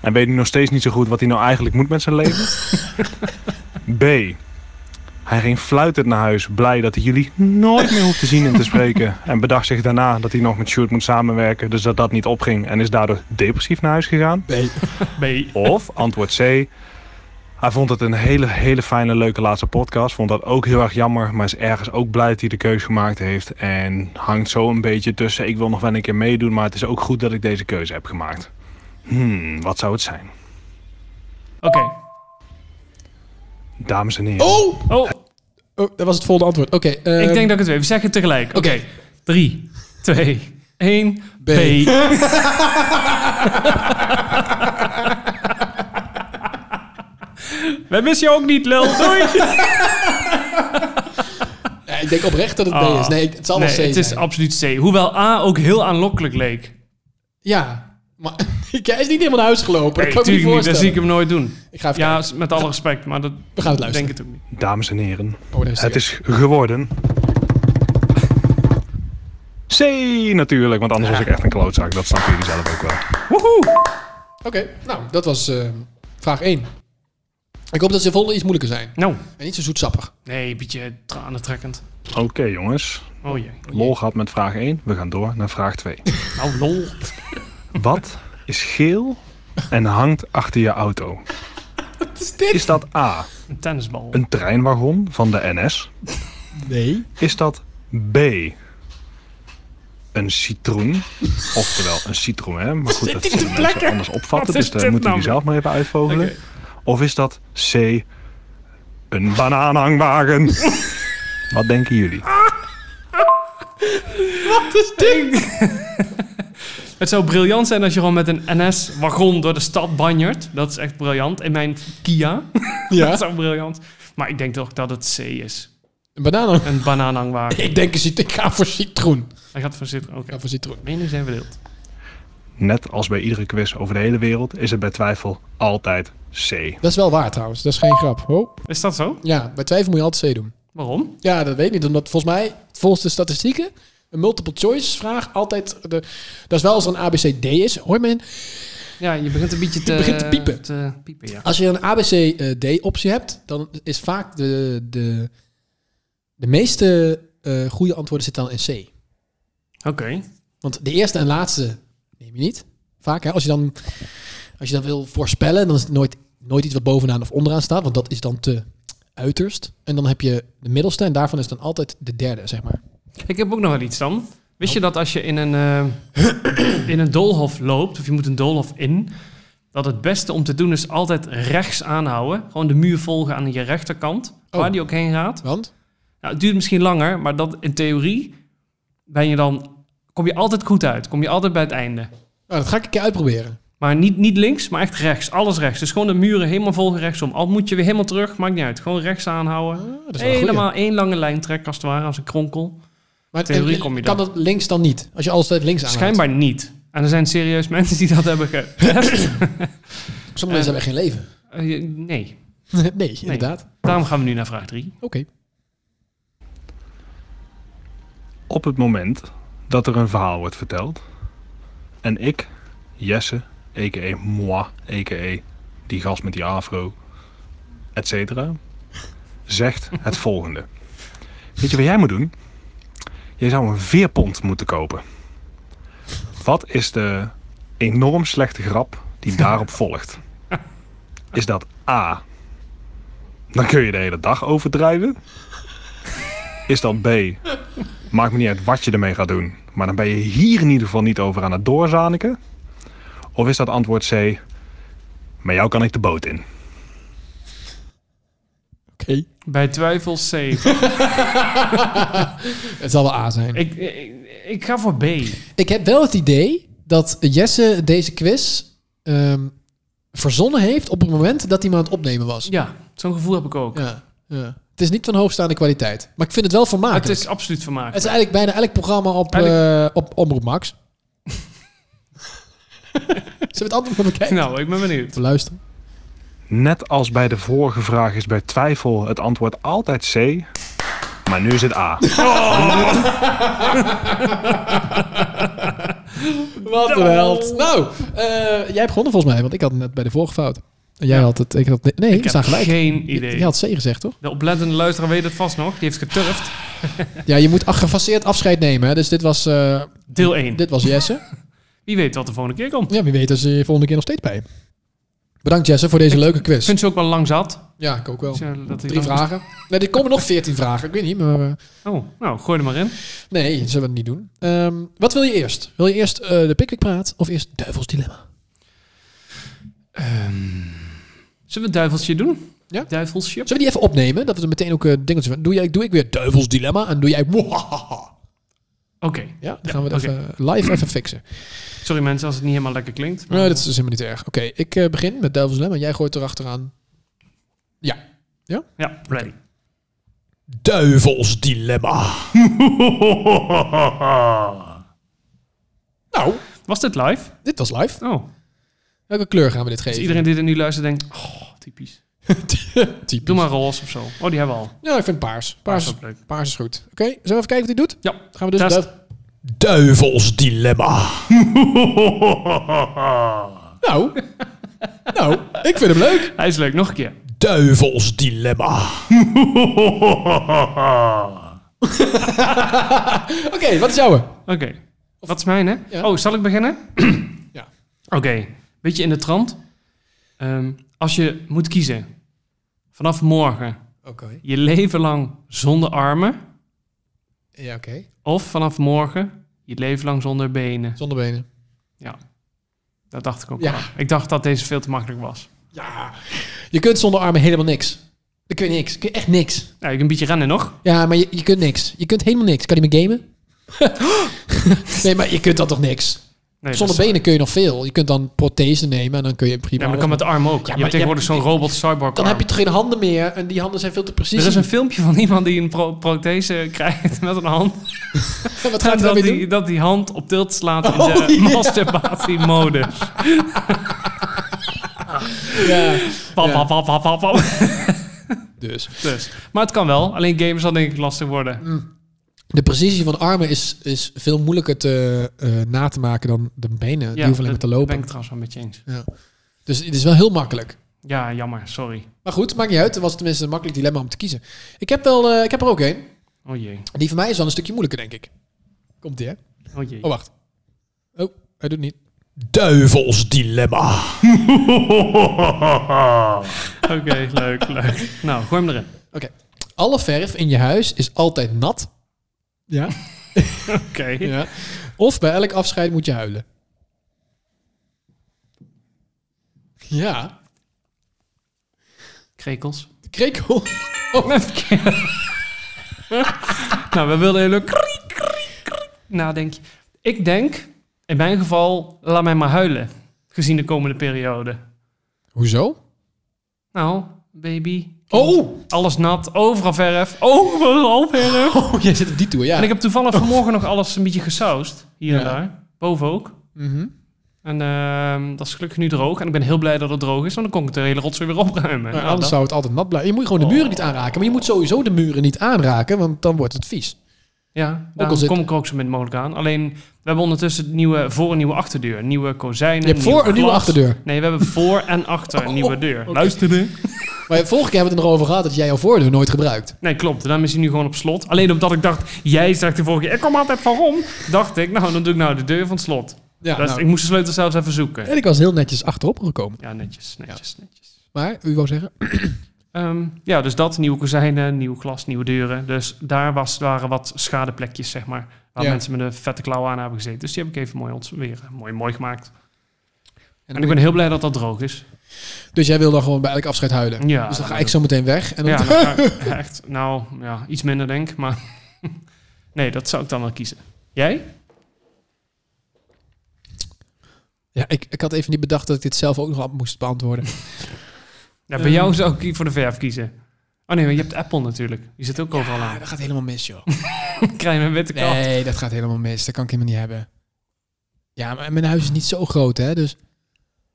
[SPEAKER 4] En weet nu nog steeds niet zo goed wat hij nou eigenlijk moet met zijn leven. B. Hij ging fluitend naar huis, blij dat hij jullie nooit meer hoeft te zien en te spreken. En bedacht zich daarna dat hij nog met Sjoerd moet samenwerken, dus dat dat niet opging. En is daardoor depressief naar huis gegaan.
[SPEAKER 2] Nee.
[SPEAKER 1] B.
[SPEAKER 4] Of antwoord C. Hij vond het een hele, hele fijne, leuke laatste podcast. Vond dat ook heel erg jammer, maar is ergens ook blij dat hij de keuze gemaakt heeft. En hangt zo een beetje tussen. Ik wil nog wel een keer meedoen, maar het is ook goed dat ik deze keuze heb gemaakt. Hmm, wat zou het zijn?
[SPEAKER 1] Oké.
[SPEAKER 4] Dames en heren.
[SPEAKER 2] Oh!
[SPEAKER 1] Oh,
[SPEAKER 2] oh, dat was het volgende antwoord. Oké. ehm,
[SPEAKER 1] ik denk dat ik het weet. We zeggen het tegelijk. Oké.
[SPEAKER 2] Oké.
[SPEAKER 1] Drie, twee, één. B.
[SPEAKER 2] B.
[SPEAKER 1] Wij missen je ook niet, lul. Doei.
[SPEAKER 2] Ja, ik denk oprecht dat het B
[SPEAKER 1] Ah.
[SPEAKER 2] is. Nee, het zal
[SPEAKER 1] Nee,
[SPEAKER 2] wel C
[SPEAKER 1] het is
[SPEAKER 2] zijn.
[SPEAKER 1] absoluut C. Hoewel A ook heel aanlokkelijk leek.
[SPEAKER 2] ja, maar hij is niet helemaal naar huis gelopen.
[SPEAKER 1] Nee,
[SPEAKER 2] dat kan ik
[SPEAKER 1] natuurlijk
[SPEAKER 2] me niet
[SPEAKER 1] niet. Dat zie ik
[SPEAKER 2] voorstellen.
[SPEAKER 1] hem nooit doen.
[SPEAKER 2] Ik ga even
[SPEAKER 1] Ja, s- met alle respect, maar dat
[SPEAKER 2] We gaan het
[SPEAKER 1] denk
[SPEAKER 2] luisteren.
[SPEAKER 1] ik ook niet.
[SPEAKER 4] Dames en heren.
[SPEAKER 2] Oh, daar is
[SPEAKER 4] Het
[SPEAKER 2] het
[SPEAKER 4] is geworden. C natuurlijk, want anders was ik echt een klootzak. Dat snappen jullie zelf ook wel.
[SPEAKER 1] Woehoe.
[SPEAKER 2] Oké, nou, dat was eh, vraag 1. Ik hoop dat ze volgende iets moeilijker zijn.
[SPEAKER 1] Nou,
[SPEAKER 2] En niet zo zoetsappig.
[SPEAKER 1] nee, een beetje tranentrekkend.
[SPEAKER 4] Oké jongens,
[SPEAKER 1] Oh jee.
[SPEAKER 4] lol gehad met vraag 1. We gaan door naar vraag 2.
[SPEAKER 1] Nou, lol.
[SPEAKER 4] Wat is geel en hangt achter je auto?
[SPEAKER 2] Wat is dit?
[SPEAKER 4] Is dat A,
[SPEAKER 1] Een tennisbal.
[SPEAKER 4] een treinwagon van de NS?
[SPEAKER 2] Nee.
[SPEAKER 4] Is dat B, een citroen? Oftewel, een citroen, hè? Maar goed,
[SPEAKER 2] Zit
[SPEAKER 4] dat
[SPEAKER 2] die
[SPEAKER 4] zullen
[SPEAKER 2] te
[SPEAKER 4] mensen
[SPEAKER 2] plekken?
[SPEAKER 4] anders opvatten,
[SPEAKER 1] Wat is
[SPEAKER 4] dus daar
[SPEAKER 1] dit
[SPEAKER 4] moeten
[SPEAKER 1] nou
[SPEAKER 4] jullie zelf maar even uitvogelen.
[SPEAKER 1] Oké.
[SPEAKER 4] Of is dat C, een banaanhangwagen? Wat denken jullie?
[SPEAKER 2] Wat is dit?
[SPEAKER 1] Het zou briljant zijn als je gewoon met een NS-wagon door de stad banjert. Dat is echt briljant. In mijn Kia. Dat
[SPEAKER 2] Ja,
[SPEAKER 1] zou briljant. Maar ik denk toch dat het C is.
[SPEAKER 2] een banaan.
[SPEAKER 1] Een bananenwagen.
[SPEAKER 2] Ik denk, een cit- ik ga voor citroen.
[SPEAKER 1] Hij gaat voor zitten. Oké.
[SPEAKER 2] Ik ga voor citroen.
[SPEAKER 1] Meningen zijn verdeeld.
[SPEAKER 4] Net als bij iedere quiz over de hele wereld is het bij twijfel altijd C.
[SPEAKER 2] Dat is wel waar trouwens, dat is geen grap. Oh.
[SPEAKER 1] Is dat zo?
[SPEAKER 2] Ja, bij twijfel moet je altijd C doen.
[SPEAKER 1] Waarom?
[SPEAKER 2] Ja, dat weet ik niet. Omdat volgens mij, volgens de statistieken, een multiple choice vraag altijd... De, dat is wel als er een ABCD is. Hoor men,
[SPEAKER 1] Ja, je begint een beetje te...
[SPEAKER 2] Je begint te piepen.
[SPEAKER 1] Te piepen, ja.
[SPEAKER 2] als je een ABCD eh, optie hebt, dan is vaak de, de, de meeste eh, goede antwoorden zitten dan in C.
[SPEAKER 1] Oké.
[SPEAKER 2] Want de eerste en laatste neem je niet. Vaak, hè? Als, je dan, als je dan wil voorspellen, dan is het nooit, nooit iets wat bovenaan of onderaan staat. Want dat is dan te uiterst. En dan heb je de middelste en daarvan is dan altijd de derde, zeg maar.
[SPEAKER 1] Ik heb ook nog wel iets dan. Wist je dat als je in een, eh, in een doolhof loopt, of je moet een doolhof in, dat het beste om te doen is altijd rechts aanhouden. Gewoon de muur volgen aan je rechterkant,
[SPEAKER 2] Oh.
[SPEAKER 1] waar die ook heen gaat.
[SPEAKER 2] Want?
[SPEAKER 1] Nou, het duurt misschien langer, maar dat in theorie ben je dan, kom je altijd goed uit. Kom je altijd bij het einde.
[SPEAKER 2] Nou, dat ga ik een keer uitproberen.
[SPEAKER 1] Maar niet, niet links, maar echt rechts. Alles rechts. Dus gewoon de muren helemaal volgen rechtsom. Al moet je weer helemaal terug, maakt niet uit. Gewoon rechts aanhouden.
[SPEAKER 2] Ah, dat is wel een goeie.
[SPEAKER 1] Helemaal één lange lijn trekken als het ware, als een kronkel. Dus
[SPEAKER 2] Maar
[SPEAKER 1] Theorie
[SPEAKER 2] en-
[SPEAKER 1] kom je
[SPEAKER 2] kan
[SPEAKER 1] dan.
[SPEAKER 2] dat links dan niet? Als je altijd links aan.
[SPEAKER 1] Schijnbaar niet. En er zijn serieus mensen die dat hebben getest.
[SPEAKER 2] Sommige mensen hebben geen leven.
[SPEAKER 1] Eh, je- nee.
[SPEAKER 2] nee, inderdaad.
[SPEAKER 1] Daarom gaan we nu naar vraag 3.
[SPEAKER 2] Oké.
[SPEAKER 4] Op het moment dat er een verhaal wordt verteld en ik, Jesse, a.k.a. moi, a.k.a. die gast met die afro, et cetera, zegt het volgende. Weet je wat jij moet doen? Jij zou een veerpont moeten kopen. Wat is de enorm slechte grap die daarop volgt? Is dat A. Dan kun je de hele dag overdrijven. Is dat B. Maakt me niet uit wat je ermee gaat doen. Maar dan ben je hier in ieder geval niet over aan het doorzaniken. Of is dat antwoord C? Met jou kan ik de boot in.
[SPEAKER 2] Oké.
[SPEAKER 1] Bij twijfel C.
[SPEAKER 2] Het zal wel A zijn.
[SPEAKER 1] ik, ik, ik ga voor B.
[SPEAKER 2] Ik heb wel het idee dat Jesse deze quiz ehm, verzonnen heeft op het moment dat hij maar aan het opnemen was.
[SPEAKER 1] Ja, zo'n gevoel heb ik ook.
[SPEAKER 2] Ja, ja. Het is niet van hoogstaande kwaliteit. Maar ik vind het wel vermakelijk.
[SPEAKER 1] het is absoluut vermaakt.
[SPEAKER 2] Het is eigenlijk bijna elk programma op, eh, op Omroep Max. Zullen we het antwoord maar bekijken?
[SPEAKER 1] Nou, ik ben benieuwd.
[SPEAKER 2] Even luisteren.
[SPEAKER 4] Net als bij de vorige vraag is bij twijfel het antwoord altijd C. Maar nu is het A.
[SPEAKER 2] Wat een held. Nou, eh, jij hebt gewonnen volgens mij, want ik had net bij de vorige fout. En jij
[SPEAKER 1] Ja.
[SPEAKER 2] had het... Ik had, nee,
[SPEAKER 1] Ik
[SPEAKER 2] we staan
[SPEAKER 1] heb
[SPEAKER 2] gelijk.
[SPEAKER 1] geen
[SPEAKER 2] Je-
[SPEAKER 1] idee.
[SPEAKER 2] Je had C gezegd, toch?
[SPEAKER 1] De oplettende luisteraar weet het vast nog. Die heeft geturfd.
[SPEAKER 2] Ja, je moet ach- gefaseerd afscheid nemen. Hè? Dus dit was, eh,
[SPEAKER 1] Deel 1.
[SPEAKER 2] dit was Jesse.
[SPEAKER 1] Wie weet wat de volgende keer komt.
[SPEAKER 2] Ja, wie weet is je volgende keer nog steeds bij. Bedankt Jesse voor deze leuke
[SPEAKER 1] Ik
[SPEAKER 2] quiz.
[SPEAKER 1] vind ze ook wel lang zat.
[SPEAKER 2] Ja, ik ook wel.
[SPEAKER 1] Dus, eh, dat ik
[SPEAKER 2] Oh, Drie
[SPEAKER 1] dan-
[SPEAKER 2] vragen. Nee, er komen nog veertien vragen. Ik weet niet, maar... eh,
[SPEAKER 1] Oh, nou, gooi er maar in.
[SPEAKER 2] Nee, dat zullen we niet doen. Ehm, wat wil je eerst? Wil je eerst eh, de Pickwick Praat of eerst Duivels Dilemma?
[SPEAKER 1] Zullen we het duivelsje doen?
[SPEAKER 2] Ja.
[SPEAKER 1] Duivelsje.
[SPEAKER 2] Zullen we die even opnemen? Dat we er meteen ook eh dingetjes van... Doe, jij, doe ik weer Duivels Dilemma en doe jij... Mwahaha.
[SPEAKER 1] Oké.
[SPEAKER 2] Ja, dan
[SPEAKER 1] Ja,
[SPEAKER 2] gaan we het even live even fixen.
[SPEAKER 1] Sorry mensen als het niet helemaal lekker klinkt.
[SPEAKER 2] Nee, dat is dus helemaal niet erg. Oké, ik eh, begin met Duivels Dilemma. Jij gooit erachteraan... Ja,
[SPEAKER 1] Ja, ready.
[SPEAKER 2] Duivels Dilemma. Nou,
[SPEAKER 1] Was dit live?
[SPEAKER 2] dit was live.
[SPEAKER 1] Oh.
[SPEAKER 2] Welke kleur gaan we dit
[SPEAKER 1] Dus
[SPEAKER 2] geven?
[SPEAKER 1] iedereen die er nu luistert denkt, oh, typisch.
[SPEAKER 2] Typisch.
[SPEAKER 1] Doe maar roze of zo. Oh, die hebben we al.
[SPEAKER 2] Ja, ik vind paars. Paars,
[SPEAKER 1] is
[SPEAKER 2] is-
[SPEAKER 1] ook leuk.
[SPEAKER 2] paars is goed. Oké, zullen we even kijken wat hij doet?
[SPEAKER 1] Ja.
[SPEAKER 2] Dan gaan we dus...
[SPEAKER 1] Test.
[SPEAKER 2] duif- Duivels Dilemma. Nou, nou, ik vind hem leuk.
[SPEAKER 1] Hij is leuk. Nog een keer.
[SPEAKER 2] Duivels dilemma. Oké, wat is jouwe?
[SPEAKER 1] Oké. Wat is mijn, hè?
[SPEAKER 2] Ja.
[SPEAKER 1] Oh, zal ik beginnen?
[SPEAKER 2] Ja.
[SPEAKER 1] Oké. Beetje in de trant. Ehm, als je moet kiezen, vanaf morgen
[SPEAKER 2] Oké.
[SPEAKER 1] je leven lang zonder armen,
[SPEAKER 2] Ja, oké.
[SPEAKER 1] of vanaf morgen je leven lang zonder benen.
[SPEAKER 2] Zonder benen.
[SPEAKER 1] Dat dacht ik ook
[SPEAKER 2] Ja.
[SPEAKER 1] al. Ik dacht dat deze veel te makkelijk was.
[SPEAKER 2] Ja. Je kunt zonder armen helemaal niks. Je kunt niks. Je kunt echt niks.
[SPEAKER 1] Nou, je kunt een beetje rennen nog.
[SPEAKER 2] Ja, maar je, je kunt niks. Je kunt helemaal niks. Kan je me gamen? Nee, maar je kunt dat toch niks?
[SPEAKER 1] Nee, dat
[SPEAKER 2] Zonder
[SPEAKER 1] is-
[SPEAKER 2] benen kun je nog veel. Je kunt dan prothese nemen en dan kun je prima...
[SPEAKER 1] Ja, maar dat kan met de arm ook.
[SPEAKER 2] Ja,
[SPEAKER 1] je
[SPEAKER 2] maar-
[SPEAKER 1] hebt tegenwoordig
[SPEAKER 2] ja,
[SPEAKER 1] zo'n robot cyborg
[SPEAKER 2] Dan heb je toch geen handen meer en die handen zijn veel te precies.
[SPEAKER 1] Er is een filmpje van iemand die een pro- prothese krijgt met een hand.
[SPEAKER 2] Wat gaat
[SPEAKER 1] En
[SPEAKER 2] hij
[SPEAKER 1] dat,
[SPEAKER 2] daarmee doen?
[SPEAKER 1] die, dat die hand op tilt slaat in
[SPEAKER 2] Oh,
[SPEAKER 1] de
[SPEAKER 2] ja.
[SPEAKER 1] masturbatiemodus.
[SPEAKER 2] Ja.
[SPEAKER 1] Pap,
[SPEAKER 2] Ja.
[SPEAKER 1] pap, pap, pap, pap, pap.
[SPEAKER 2] Dus.
[SPEAKER 1] Dus. Maar het kan wel. Alleen games zal denk ik lastig worden.
[SPEAKER 2] Mm. De precisie van armen is, is veel moeilijker te, eh, na te maken dan de benen. die hoeven alleen maar te
[SPEAKER 1] dat
[SPEAKER 2] lopen.
[SPEAKER 1] ben ik trouwens wel met je eens.
[SPEAKER 2] Ja. Dus het is wel heel makkelijk.
[SPEAKER 1] Ja, jammer. Sorry.
[SPEAKER 2] Maar goed, maakt niet uit. Het was tenminste een makkelijk dilemma om te kiezen. Ik heb, wel, eh, ik heb er ook één.
[SPEAKER 1] Oh jee.
[SPEAKER 2] Die van mij is wel een stukje moeilijker, denk ik. Komt die, hè?
[SPEAKER 1] Oh jee.
[SPEAKER 2] Oh, wacht. Oh, hij doet niet. Duivels dilemma.
[SPEAKER 1] Oké, leuk, leuk. Nou, gooi hem erin.
[SPEAKER 2] Oké. Alle verf in je huis is altijd nat. Ja.
[SPEAKER 1] Oké.
[SPEAKER 2] ja. Of bij elk afscheid moet je huilen. Ja.
[SPEAKER 1] Krekels.
[SPEAKER 2] De krekel.
[SPEAKER 1] nou, we wilden heel leuk kriek, kriek, kriek nadenken. Ik denk, in mijn geval, laat mij maar huilen. Gezien de komende periode.
[SPEAKER 2] Hoezo?
[SPEAKER 1] Nou, baby.
[SPEAKER 2] Oh!
[SPEAKER 1] Alles nat, overal verf, overal verf.
[SPEAKER 2] Oh, jij zit op die toer, ja.
[SPEAKER 1] En ik heb toevallig vanmorgen nog alles een beetje gesausd. Hier en
[SPEAKER 2] Ja.
[SPEAKER 1] daar. Boven ook.
[SPEAKER 2] Mhm.
[SPEAKER 1] En ehm, dat is gelukkig nu droog. En ik ben heel blij dat het droog is, want dan kon ik de hele rotzooi weer opruimen.
[SPEAKER 2] Maar
[SPEAKER 1] Nou,
[SPEAKER 2] anders
[SPEAKER 1] dat-
[SPEAKER 2] zou het altijd nat blijven. Je moet
[SPEAKER 1] Oh.
[SPEAKER 2] gewoon de muren niet aanraken. Maar je moet sowieso de muren niet aanraken, want dan wordt het vies.
[SPEAKER 1] Ja, daarom
[SPEAKER 2] zit-
[SPEAKER 1] kom ik er ook zo min mogelijk aan. Alleen, we hebben ondertussen nieuwe voor- en nieuwe achterdeur. Nieuwe kozijnen.
[SPEAKER 2] Je hebt voor een nieuwe
[SPEAKER 1] glas.
[SPEAKER 2] achterdeur. Oh,
[SPEAKER 1] Nee, we hebben voor en achter een nieuwe deur.
[SPEAKER 2] Luisteren. Maar vorige keer hebben we het er nog over gehad dat jij jouw voordeur nooit gebruikt.
[SPEAKER 1] Nee, klopt. Daarom is hij nu gewoon op slot. Alleen omdat ik dacht, jij zegt de vorige keer, ik kom altijd van rom. Dacht ik, nou, dan doe ik nou de deur van het slot.
[SPEAKER 2] Ja,
[SPEAKER 1] Dat is-
[SPEAKER 2] nou.
[SPEAKER 1] Ik moest de sleutel zelfs even zoeken.
[SPEAKER 2] En ik was heel netjes achterop gekomen.
[SPEAKER 1] Ja, netjes, netjes, netjes.
[SPEAKER 2] Maar, u wou zeggen?
[SPEAKER 1] Ehm, ja, dus dat. Nieuwe kozijnen, nieuw glas, nieuwe deuren. Dus daar was, waren wat schadeplekjes, zeg maar. Waar
[SPEAKER 2] Ja.
[SPEAKER 1] mensen met een vette klauw aan hebben gezeten. Dus die heb ik even mooi ontzweren. Mooi, mooi gemaakt. En ik ben heel blij dat dat droog is.
[SPEAKER 2] Dus jij wil dan gewoon bij elk afscheid huilen.
[SPEAKER 1] Ja,
[SPEAKER 2] dus dan ga
[SPEAKER 1] nou,
[SPEAKER 2] ik zo meteen weg. En dan
[SPEAKER 1] Ja, dan ga ik echt, nou, ja, iets minder denk ik, maar... Nee, dat zou ik dan wel kiezen. Jij?
[SPEAKER 2] Ja, ik, ik had even niet bedacht dat ik dit zelf ook nog aan moest beantwoorden.
[SPEAKER 1] Ja, bij
[SPEAKER 2] Ehm.
[SPEAKER 1] jou zou ik voor de verf kiezen. Oh nee, maar je hebt Apple natuurlijk. Die zit ook overal
[SPEAKER 2] Ah,
[SPEAKER 1] aan.
[SPEAKER 2] dat gaat helemaal mis, joh.
[SPEAKER 1] Krijg je een witte kat.
[SPEAKER 2] Nee, dat gaat helemaal mis. Dat kan ik helemaal niet hebben. Ja, maar mijn huis is niet zo groot, hè. Dus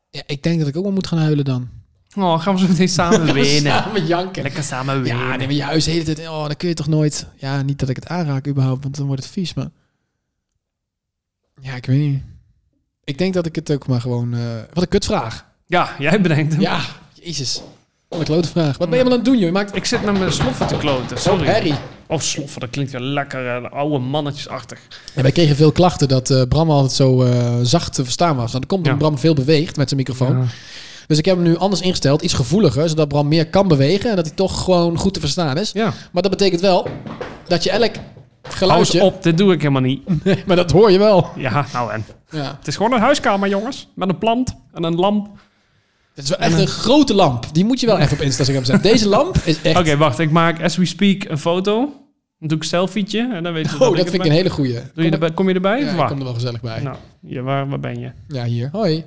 [SPEAKER 2] ja, ik denk dat ik ook wel moet gaan huilen dan.
[SPEAKER 1] Oh, gaan we zo meteen samen winnen.
[SPEAKER 2] Samen janken.
[SPEAKER 1] Lekker samen winnen.
[SPEAKER 2] Ja, nee, maar je huis de hele tijd... Oh, dan kun je toch nooit... Ja, niet dat ik het aanraak überhaupt, want dan wordt het vies, maar... Ja, ik weet niet. Ik denk dat ik het ook maar gewoon... eh, wat een kutvraag.
[SPEAKER 1] Ja, jij bedenkt hem.
[SPEAKER 2] Ja, jezus. Wat een klote vraag. Wat ben je allemaal aan het doen, joh? Je maakt...
[SPEAKER 1] Ik zit met mijn sloffen te kloten, sorry.
[SPEAKER 2] Harry.
[SPEAKER 1] Oh, sloffen, dat klinkt wel lekker eh, oude mannetjesachtig.
[SPEAKER 2] En wij kregen veel klachten dat eh, Bram altijd zo eh, zacht te verstaan was. En dat komt omdat
[SPEAKER 1] Ja.
[SPEAKER 2] Bram veel beweegt met zijn microfoon. Dus ik heb hem nu anders ingesteld, iets gevoeliger, zodat Bram meer kan bewegen en dat hij toch gewoon goed te verstaan is.
[SPEAKER 1] Ja.
[SPEAKER 2] Maar dat betekent wel dat je elk
[SPEAKER 1] Hou eens
[SPEAKER 2] geluidje...
[SPEAKER 1] op, dit doe ik helemaal niet.
[SPEAKER 2] maar dat hoor je wel.
[SPEAKER 1] Ja, nou en.
[SPEAKER 2] Ja.
[SPEAKER 1] Het is gewoon een huiskamer, jongens. Met een plant en een lamp.
[SPEAKER 2] Het is wel echt een grote lamp. Die moet je wel even op Instagram zetten. Deze lamp is echt...
[SPEAKER 1] Oké, wacht. Ik maak as we speak een foto. Dan doe ik een selfietje en dan weet je
[SPEAKER 2] oh, dat vind ik een hele goeie.
[SPEAKER 1] Doe je erbij, kom je erbij?
[SPEAKER 2] Ja,
[SPEAKER 1] of
[SPEAKER 2] ik
[SPEAKER 1] waar?
[SPEAKER 2] kom er wel gezellig bij.
[SPEAKER 1] Nou, ja, waar, waar ben je?
[SPEAKER 2] Ja, hier. Hoi.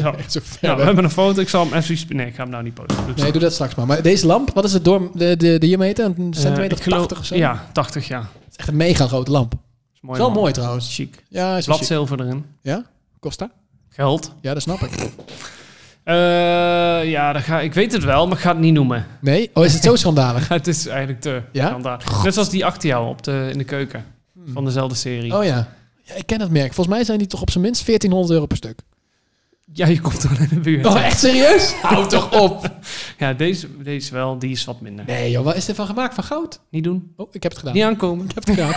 [SPEAKER 1] Zo.
[SPEAKER 2] Echt zo ver
[SPEAKER 1] Nou, we
[SPEAKER 2] weg.
[SPEAKER 1] hebben een foto. Ik zal hem as we speak... Nee, ik ga hem nou niet posten. Dat is-
[SPEAKER 2] Nee, doe dat straks maar. Maar deze lamp, wat is het door de, de, diameter? Een
[SPEAKER 1] Eh,
[SPEAKER 2] centimeter
[SPEAKER 1] ik
[SPEAKER 2] of
[SPEAKER 1] geloof-
[SPEAKER 2] 80 of zo?
[SPEAKER 1] Ja, 80, ja. Dat
[SPEAKER 2] Het is echt een mega grote lamp.
[SPEAKER 1] is
[SPEAKER 2] Is
[SPEAKER 1] mooi,
[SPEAKER 2] wel
[SPEAKER 1] man.
[SPEAKER 2] mooi trouwens.
[SPEAKER 1] Chic.
[SPEAKER 2] Ja, is wel chic.
[SPEAKER 1] Blatzilver erin.
[SPEAKER 2] Ja? Costa?
[SPEAKER 1] Geld.
[SPEAKER 2] Ja, dat snap ik.
[SPEAKER 1] Eh, ja, dat ga, ik weet het wel, maar ik ga het niet noemen.
[SPEAKER 2] Nee? Oh, is het zo schandalig?
[SPEAKER 1] Het is eigenlijk te
[SPEAKER 2] Ja? Hmm.
[SPEAKER 1] standaard. Net zoals die achter jou op de, in de keuken. Van dezelfde serie.
[SPEAKER 2] Oh ja. ja. Ik ken dat merk. Volgens mij zijn die toch op zijn minst 1400 euro per stuk.
[SPEAKER 1] Ja, je komt wel in de buurt.
[SPEAKER 2] Oh, echt serieus? Hou toch op.
[SPEAKER 1] Ja, deze, deze wel, die is wat minder.
[SPEAKER 2] Nee joh, wat is er van gemaakt? Van goud?
[SPEAKER 1] Niet doen.
[SPEAKER 2] Oh, ik heb het gedaan.
[SPEAKER 1] Niet aankomen.
[SPEAKER 2] Ik heb het gedaan.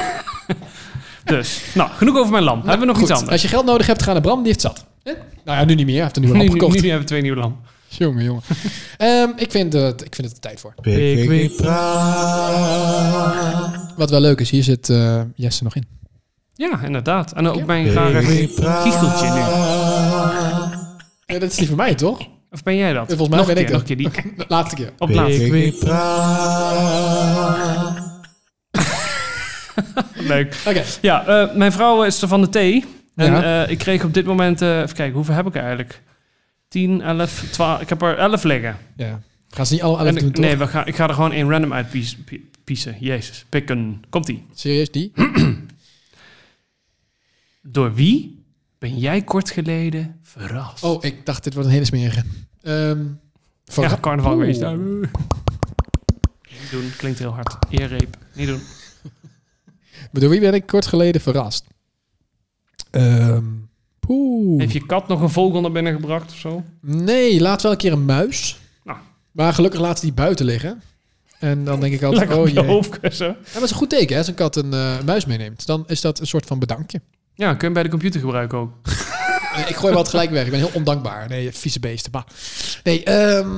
[SPEAKER 1] Dus, nou, genoeg over mijn lamp. Hebben we nog
[SPEAKER 2] Goed,
[SPEAKER 1] iets anders?
[SPEAKER 2] Als je geld nodig hebt, ga naar Bram. Die heeft zat. Hè? Nou ja, nu niet meer. Hij heeft een nieuwe
[SPEAKER 1] Nu,
[SPEAKER 2] lamp
[SPEAKER 1] nu, nu
[SPEAKER 2] gekocht.
[SPEAKER 1] hebben we twee nieuwe lamp.
[SPEAKER 2] Jongen, jongen. Ehm, ik, vind het, ik vind het er tijd voor.
[SPEAKER 1] Ik weet.
[SPEAKER 2] Wat wel leuk is, hier zit eh, Jesse nog in.
[SPEAKER 1] Ja, inderdaad. En ook mijn rare giecheltje nu.
[SPEAKER 2] Ja, dat is die van mij, toch?
[SPEAKER 1] Of ben jij dat?
[SPEAKER 2] Eh, Volgens mij
[SPEAKER 1] nog
[SPEAKER 2] ben
[SPEAKER 1] een
[SPEAKER 2] ik
[SPEAKER 1] keer,
[SPEAKER 2] dat.
[SPEAKER 1] nog een keer die.
[SPEAKER 2] De laatste keer.
[SPEAKER 1] Op laatst. Leuk.
[SPEAKER 2] Oké.
[SPEAKER 1] Ja, eh, mijn vrouw is er van de thee. En
[SPEAKER 2] Ja.
[SPEAKER 1] eh, ik kreeg op dit moment, eh, even kijken, hoeveel heb ik er eigenlijk? 10, 11, 12. Ik heb er 11 liggen.
[SPEAKER 2] Ja. Gaan ze niet allemaal
[SPEAKER 1] En
[SPEAKER 2] elf
[SPEAKER 1] ik-
[SPEAKER 2] doen, toch?
[SPEAKER 1] nee, we gaan, ik ga er gewoon één random uit pies- pie- piezen. Jezus, pikken. Komt-ie.
[SPEAKER 2] Serieus, die?
[SPEAKER 1] Door wie ben jij kort geleden verrast?
[SPEAKER 2] Oh, ik dacht, dit wordt een hele smerige. Ehm voor
[SPEAKER 1] ja, carnaval
[SPEAKER 2] Oeh.
[SPEAKER 1] geweest. daar. Niet doen, klinkt heel hard. Eerreep, niet doen.
[SPEAKER 2] Door wie ben ik kort geleden verrast? Ehm poeh.
[SPEAKER 1] Heeft je kat nog een vogel naar binnen gebracht of zo?
[SPEAKER 2] Nee, laat wel een keer een muis.
[SPEAKER 1] Nou.
[SPEAKER 2] Maar gelukkig laten ze die buiten liggen. En dan denk ik altijd,
[SPEAKER 1] Lekker op
[SPEAKER 2] oh
[SPEAKER 1] je
[SPEAKER 2] jee. Ja,
[SPEAKER 1] hoofdkussen.
[SPEAKER 2] maar het is een goed teken hè, als een kat een eh, muis meeneemt. Dan is dat een soort van bedankje.
[SPEAKER 1] Ja, kun je bij de computer gebruiken ook.
[SPEAKER 2] Eh, ik gooi wat gelijk weg. Ik ben heel ondankbaar. Nee, vieze beesten. Bah. Nee, ehm,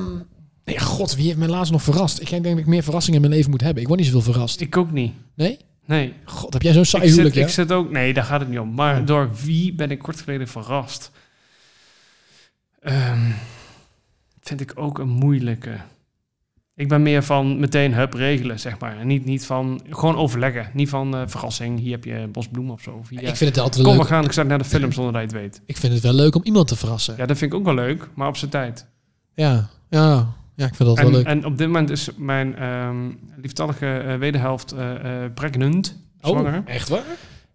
[SPEAKER 2] nee, god, wie heeft mij laatst nog verrast? Ik denk dat ik meer verrassingen in mijn leven moet hebben. Ik word niet zoveel verrast.
[SPEAKER 1] Ik ook niet.
[SPEAKER 2] Nee?
[SPEAKER 1] Nee.
[SPEAKER 2] God, heb jij zo'n saai
[SPEAKER 1] Ik
[SPEAKER 2] huwelijk,
[SPEAKER 1] zit,
[SPEAKER 2] hè?
[SPEAKER 1] ik zit ook... Nee, daar gaat het niet om. Maar door wie ben ik kort geleden verrast? Ehm, vind ik ook een moeilijke. Ik ben meer van meteen hup regelen, zeg maar. En niet, niet van... Gewoon overleggen. Niet van eh, verrassing. Hier heb je bosbloem of zo. Of hier-
[SPEAKER 2] Ik vind het altijd wel
[SPEAKER 1] Kom, we
[SPEAKER 2] leuk.
[SPEAKER 1] gaan. Ik zat naar de film zonder dat je het weet.
[SPEAKER 2] Ik vind het wel leuk om iemand te verrassen.
[SPEAKER 1] Ja, dat vind ik ook wel leuk. Maar op zijn tijd.
[SPEAKER 2] Ja, ja, ja ik vind dat wel
[SPEAKER 1] En,
[SPEAKER 2] leuk.
[SPEAKER 1] en op dit moment is mijn ehm lieftallige eh, wederhelft eh, eh, pregnant.
[SPEAKER 2] Oh.
[SPEAKER 1] Zwanger.
[SPEAKER 2] echt waar?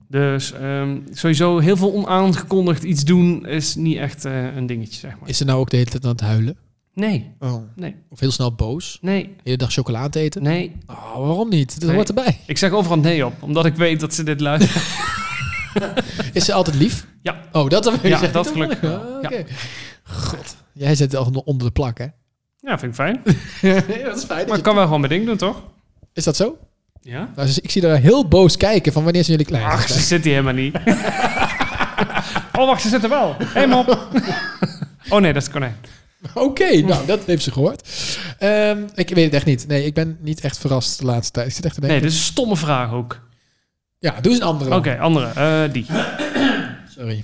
[SPEAKER 1] Dus ehm, sowieso heel veel onaangekondigd iets doen is niet echt eh, een dingetje, zeg maar.
[SPEAKER 2] Is ze nou ook de hele tijd aan het huilen?
[SPEAKER 1] Nee,
[SPEAKER 2] Oh.
[SPEAKER 1] Nee.
[SPEAKER 2] Of heel snel boos?
[SPEAKER 1] nee,
[SPEAKER 2] De hele dag chocola te eten?
[SPEAKER 1] nee.
[SPEAKER 2] Oh, waarom niet? Dat
[SPEAKER 1] Nee.
[SPEAKER 2] hoort erbij.
[SPEAKER 1] Ik zeg overal nee op, omdat ik weet dat ze dit luisteren.
[SPEAKER 2] Is ze altijd lief?
[SPEAKER 1] Ja.
[SPEAKER 2] Oh, dat heb ik
[SPEAKER 1] Ja,
[SPEAKER 2] gezegd.
[SPEAKER 1] dat
[SPEAKER 2] Oh,
[SPEAKER 1] gelukkig
[SPEAKER 2] ja,
[SPEAKER 1] wel. Ja.
[SPEAKER 2] oké. God. Jij zit al onder de plak, hè?
[SPEAKER 1] ja, vind ik fijn.
[SPEAKER 2] Nee, dat is fijn.
[SPEAKER 1] Maar ik kan wel gewoon mijn ding doen, toch?
[SPEAKER 2] Is dat zo?
[SPEAKER 1] Ja.
[SPEAKER 2] Nou, dus ik zie daar heel boos kijken van wanneer zijn jullie klein?
[SPEAKER 1] Ach, ze zit hier helemaal niet. oh, wacht, ze zit er wel. Hé, hey, mop. oh nee, dat is konijn.
[SPEAKER 2] Oké, nou, dat heeft ze gehoord. Ehm, ik weet het echt niet. Nee, ik ben niet echt verrast de laatste tijd. Ik zit echt te denken.
[SPEAKER 1] Nee, dit is een stomme vraag ook.
[SPEAKER 2] Ja, doe eens een andere.
[SPEAKER 1] Oké,
[SPEAKER 2] dan.
[SPEAKER 1] andere. Eh, die.
[SPEAKER 2] Sorry.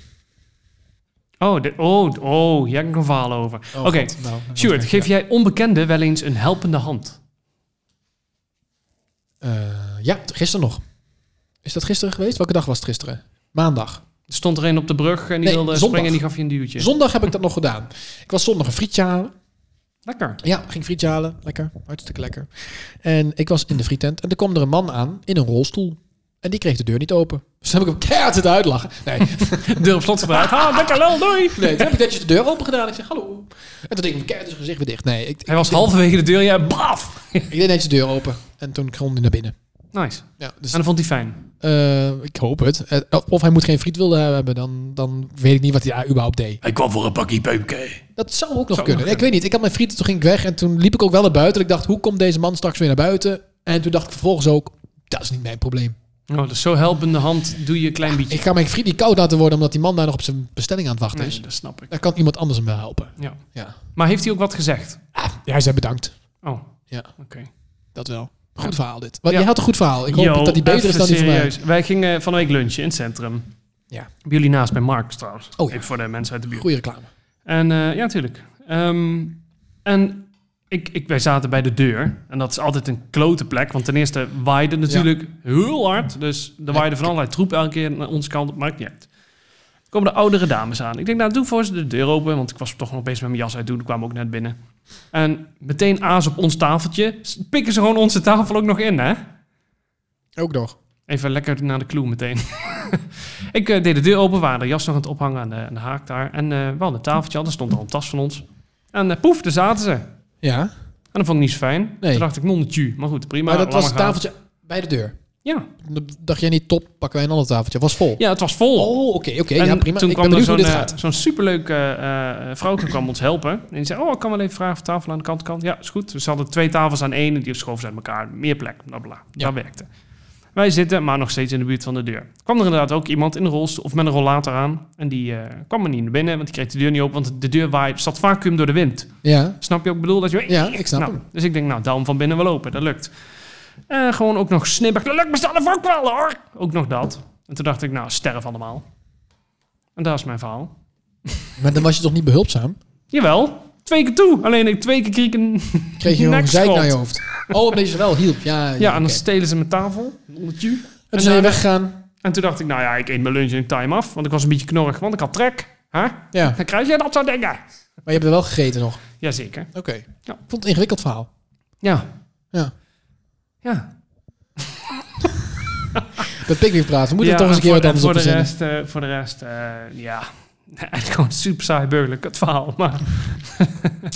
[SPEAKER 1] Oh, dit, oh, oh, hier heb ik een verhaal over.
[SPEAKER 2] Oh,
[SPEAKER 1] Oké,
[SPEAKER 2] God. Nou, dat
[SPEAKER 1] Stuart,
[SPEAKER 2] was-
[SPEAKER 1] geef jij onbekenden wel eens een helpende hand?
[SPEAKER 2] Eh, ja, gisteren nog. Is dat gisteren geweest? Welke dag was het gisteren? Maandag.
[SPEAKER 1] Er stond er een op de brug en die
[SPEAKER 2] Nee,
[SPEAKER 1] wilde
[SPEAKER 2] zondag.
[SPEAKER 1] springen en die gaf je een duwtje.
[SPEAKER 2] Zondag heb ik dat nog gedaan. Ik was zondag een frietje halen.
[SPEAKER 1] Lekker.
[SPEAKER 2] Ja, ging frietje halen. Lekker. Hartstikke lekker. En ik was in de frietent. En er kwam er een man aan in een rolstoel. En die kreeg de deur niet open. Dus toen heb ik hem keihard zitten uitlachen. Nee,
[SPEAKER 1] Deur op slot gedraaid. Ha, lekker lul, doei.
[SPEAKER 2] nee toen heb ik netjes de deur open gedaan. Ik zeg hallo. En toen deed ik hem keihard zijn gezicht weer dicht. Nee, ik,
[SPEAKER 1] Hij was halverwege de deur en jij baf.
[SPEAKER 2] ik deed netjes de deur open. En toen kon hij naar binnen.
[SPEAKER 1] Nice. En
[SPEAKER 2] Ja, dus
[SPEAKER 1] dat vond hij fijn.
[SPEAKER 2] eh, ik hoop het. Eh, Of hij moet geen friet wilde hebben. Dan, dan weet ik niet wat hij daar überhaupt deed.
[SPEAKER 5] Hij kwam voor een pakje peumke.
[SPEAKER 2] Dat zou ook nog
[SPEAKER 1] Zou
[SPEAKER 2] kunnen.
[SPEAKER 1] nog
[SPEAKER 2] ik weet niet. Ik had mijn frieten, toen ging ik weg. En toen liep ik ook wel naar buiten. Ik dacht, hoe komt deze man straks weer naar buiten? En toen dacht ik vervolgens ook, dat is niet mijn probleem.
[SPEAKER 1] Oh, dus zo helpende hand doe je een klein beetje.
[SPEAKER 2] Ik ga mijn friet niet koud laten worden, omdat die man daar nog op zijn bestelling aan het wachten
[SPEAKER 1] Nee,
[SPEAKER 2] is.
[SPEAKER 1] dat snap ik.
[SPEAKER 2] Daar kan iemand anders hem wel helpen.
[SPEAKER 1] Ja.
[SPEAKER 2] Ja. Ah,
[SPEAKER 1] Maar heeft hij ook wat gezegd?
[SPEAKER 2] Ja, hij zei bedankt.
[SPEAKER 1] Oh,
[SPEAKER 2] Ja.
[SPEAKER 1] oké.
[SPEAKER 2] Dat wel. Goed verhaal dit. Want
[SPEAKER 1] Ja.
[SPEAKER 2] je had een goed verhaal. Ik hoop
[SPEAKER 1] Yo,
[SPEAKER 2] dat die beter is
[SPEAKER 1] even
[SPEAKER 2] dan die van mij.
[SPEAKER 1] serieus. Wij gingen van de week lunchen in het centrum.
[SPEAKER 2] Ja.
[SPEAKER 1] Bij jullie naast bij Marks trouwens.
[SPEAKER 2] Oh ja.
[SPEAKER 1] Even voor de mensen uit de buurt.
[SPEAKER 2] Goeie reclame.
[SPEAKER 1] En eh, ja, natuurlijk. Ehm, en ik, ik, wij zaten bij de deur. En dat is altijd een klote plek. Want ten eerste waaide natuurlijk heel hard. Dus er waaide van allerlei troep elke keer naar onze kant. Maakt niet uit. Er komen de oudere dames aan. Ik denk, nou, doe voor ze de deur open. Want ik was toch nog bezig met mijn jas uit doen. Die kwamen ook net binnen. En meteen aas op ons tafeltje. S- Pikken ze gewoon onze tafel ook nog in, hè?
[SPEAKER 2] Ook nog.
[SPEAKER 1] Even lekker naar de clue meteen. ik eh, deed de deur open, we waren de jas nog aan het ophangen aan de, aan de haak daar. En eh we hadden een tafeltje al, er stond al een tas van ons. En eh, poef, daar zaten ze. En
[SPEAKER 2] Ja.
[SPEAKER 1] dat vond ik niet zo fijn.
[SPEAKER 2] Nee.
[SPEAKER 1] Toen dacht ik, nonnetje. Maar goed, prima.
[SPEAKER 2] Maar, dat
[SPEAKER 1] laat
[SPEAKER 2] was het
[SPEAKER 1] gaan.
[SPEAKER 2] tafeltje bij de deur.
[SPEAKER 1] Ja.
[SPEAKER 2] Dan dacht jij niet, top, pakken wij een ander tafeltje. Was vol.
[SPEAKER 1] ja, het was vol.
[SPEAKER 2] Oh, oké, oké.
[SPEAKER 1] en
[SPEAKER 2] Ja, prima.
[SPEAKER 1] toen
[SPEAKER 2] ik ben
[SPEAKER 1] kwam er
[SPEAKER 2] benieuwd
[SPEAKER 1] zo'n
[SPEAKER 2] hoe dit
[SPEAKER 1] eh,
[SPEAKER 2] gaat.
[SPEAKER 1] zo'n superleuke eh, eh, vrouwtje kwam ons helpen. En die zei, oh, ik kan wel even vragen voor tafel aan de kant, kant. Ja, is goed. Dus ze hadden twee tafels aan één en die schoven ze uit elkaar. Meer plek, bla bla.
[SPEAKER 2] Ja.
[SPEAKER 1] Dat werkte. Wij zitten, maar nog steeds in de buurt van de deur. Kwam er inderdaad ook iemand in de rolstoel of met een rollator aan. En die eh, kwam er niet naar binnen, want die kreeg de deur niet open. Want de deur waaide, zat vacuüm door de wind.
[SPEAKER 2] Ja.
[SPEAKER 1] Snap je ook? Ik bedoel dat je...
[SPEAKER 2] Ja, ik snap
[SPEAKER 1] eh, nou,
[SPEAKER 2] hem.
[SPEAKER 1] Dus ik denk, nou, daarom van binnen wel open. Dat lukt. En gewoon ook nog snibbig. Dat lukt me zelf ook wel, hoor. Ook nog dat. En toen dacht ik, nou, sterf allemaal. En daar is mijn verhaal.
[SPEAKER 2] Maar dan was je toch niet behulpzaam?
[SPEAKER 1] Jawel. Twee keer toe. Alleen ik twee keer krieken.
[SPEAKER 2] kreeg je een
[SPEAKER 1] Nekschot.
[SPEAKER 2] gezeik naar je hoofd. Oh, omdat je ze wel hielp. Ja, ja,
[SPEAKER 1] Ja, en dan
[SPEAKER 2] oké.
[SPEAKER 1] stelen ze mijn tafel. Een ondertje.
[SPEAKER 2] En toen zijn we weggegaan.
[SPEAKER 1] En toen dacht ik, nou ja, ik eet mijn lunch in time af. Want ik was een beetje knorrig, want ik had trek. Huh?
[SPEAKER 2] Ja, maar
[SPEAKER 1] Dan krijg je dat soort dingen.
[SPEAKER 2] je hebt er wel gegeten nog.
[SPEAKER 1] Jazeker.
[SPEAKER 2] Oké.
[SPEAKER 1] Ja.
[SPEAKER 2] Ik vond het een ingewikkeld verhaal.
[SPEAKER 1] Ja.
[SPEAKER 2] Ja.
[SPEAKER 1] Ja.
[SPEAKER 2] Met Pickwick praten. We
[SPEAKER 1] Ja,
[SPEAKER 2] moeten er toch eens een keer
[SPEAKER 1] en
[SPEAKER 2] wat anders
[SPEAKER 1] voor,
[SPEAKER 2] op
[SPEAKER 1] en voor de
[SPEAKER 2] verzinnen.
[SPEAKER 1] rest, eh, Voor de rest, eh, ja. Eigenlijk gewoon een super saai burgerlijk het verhaal. Maar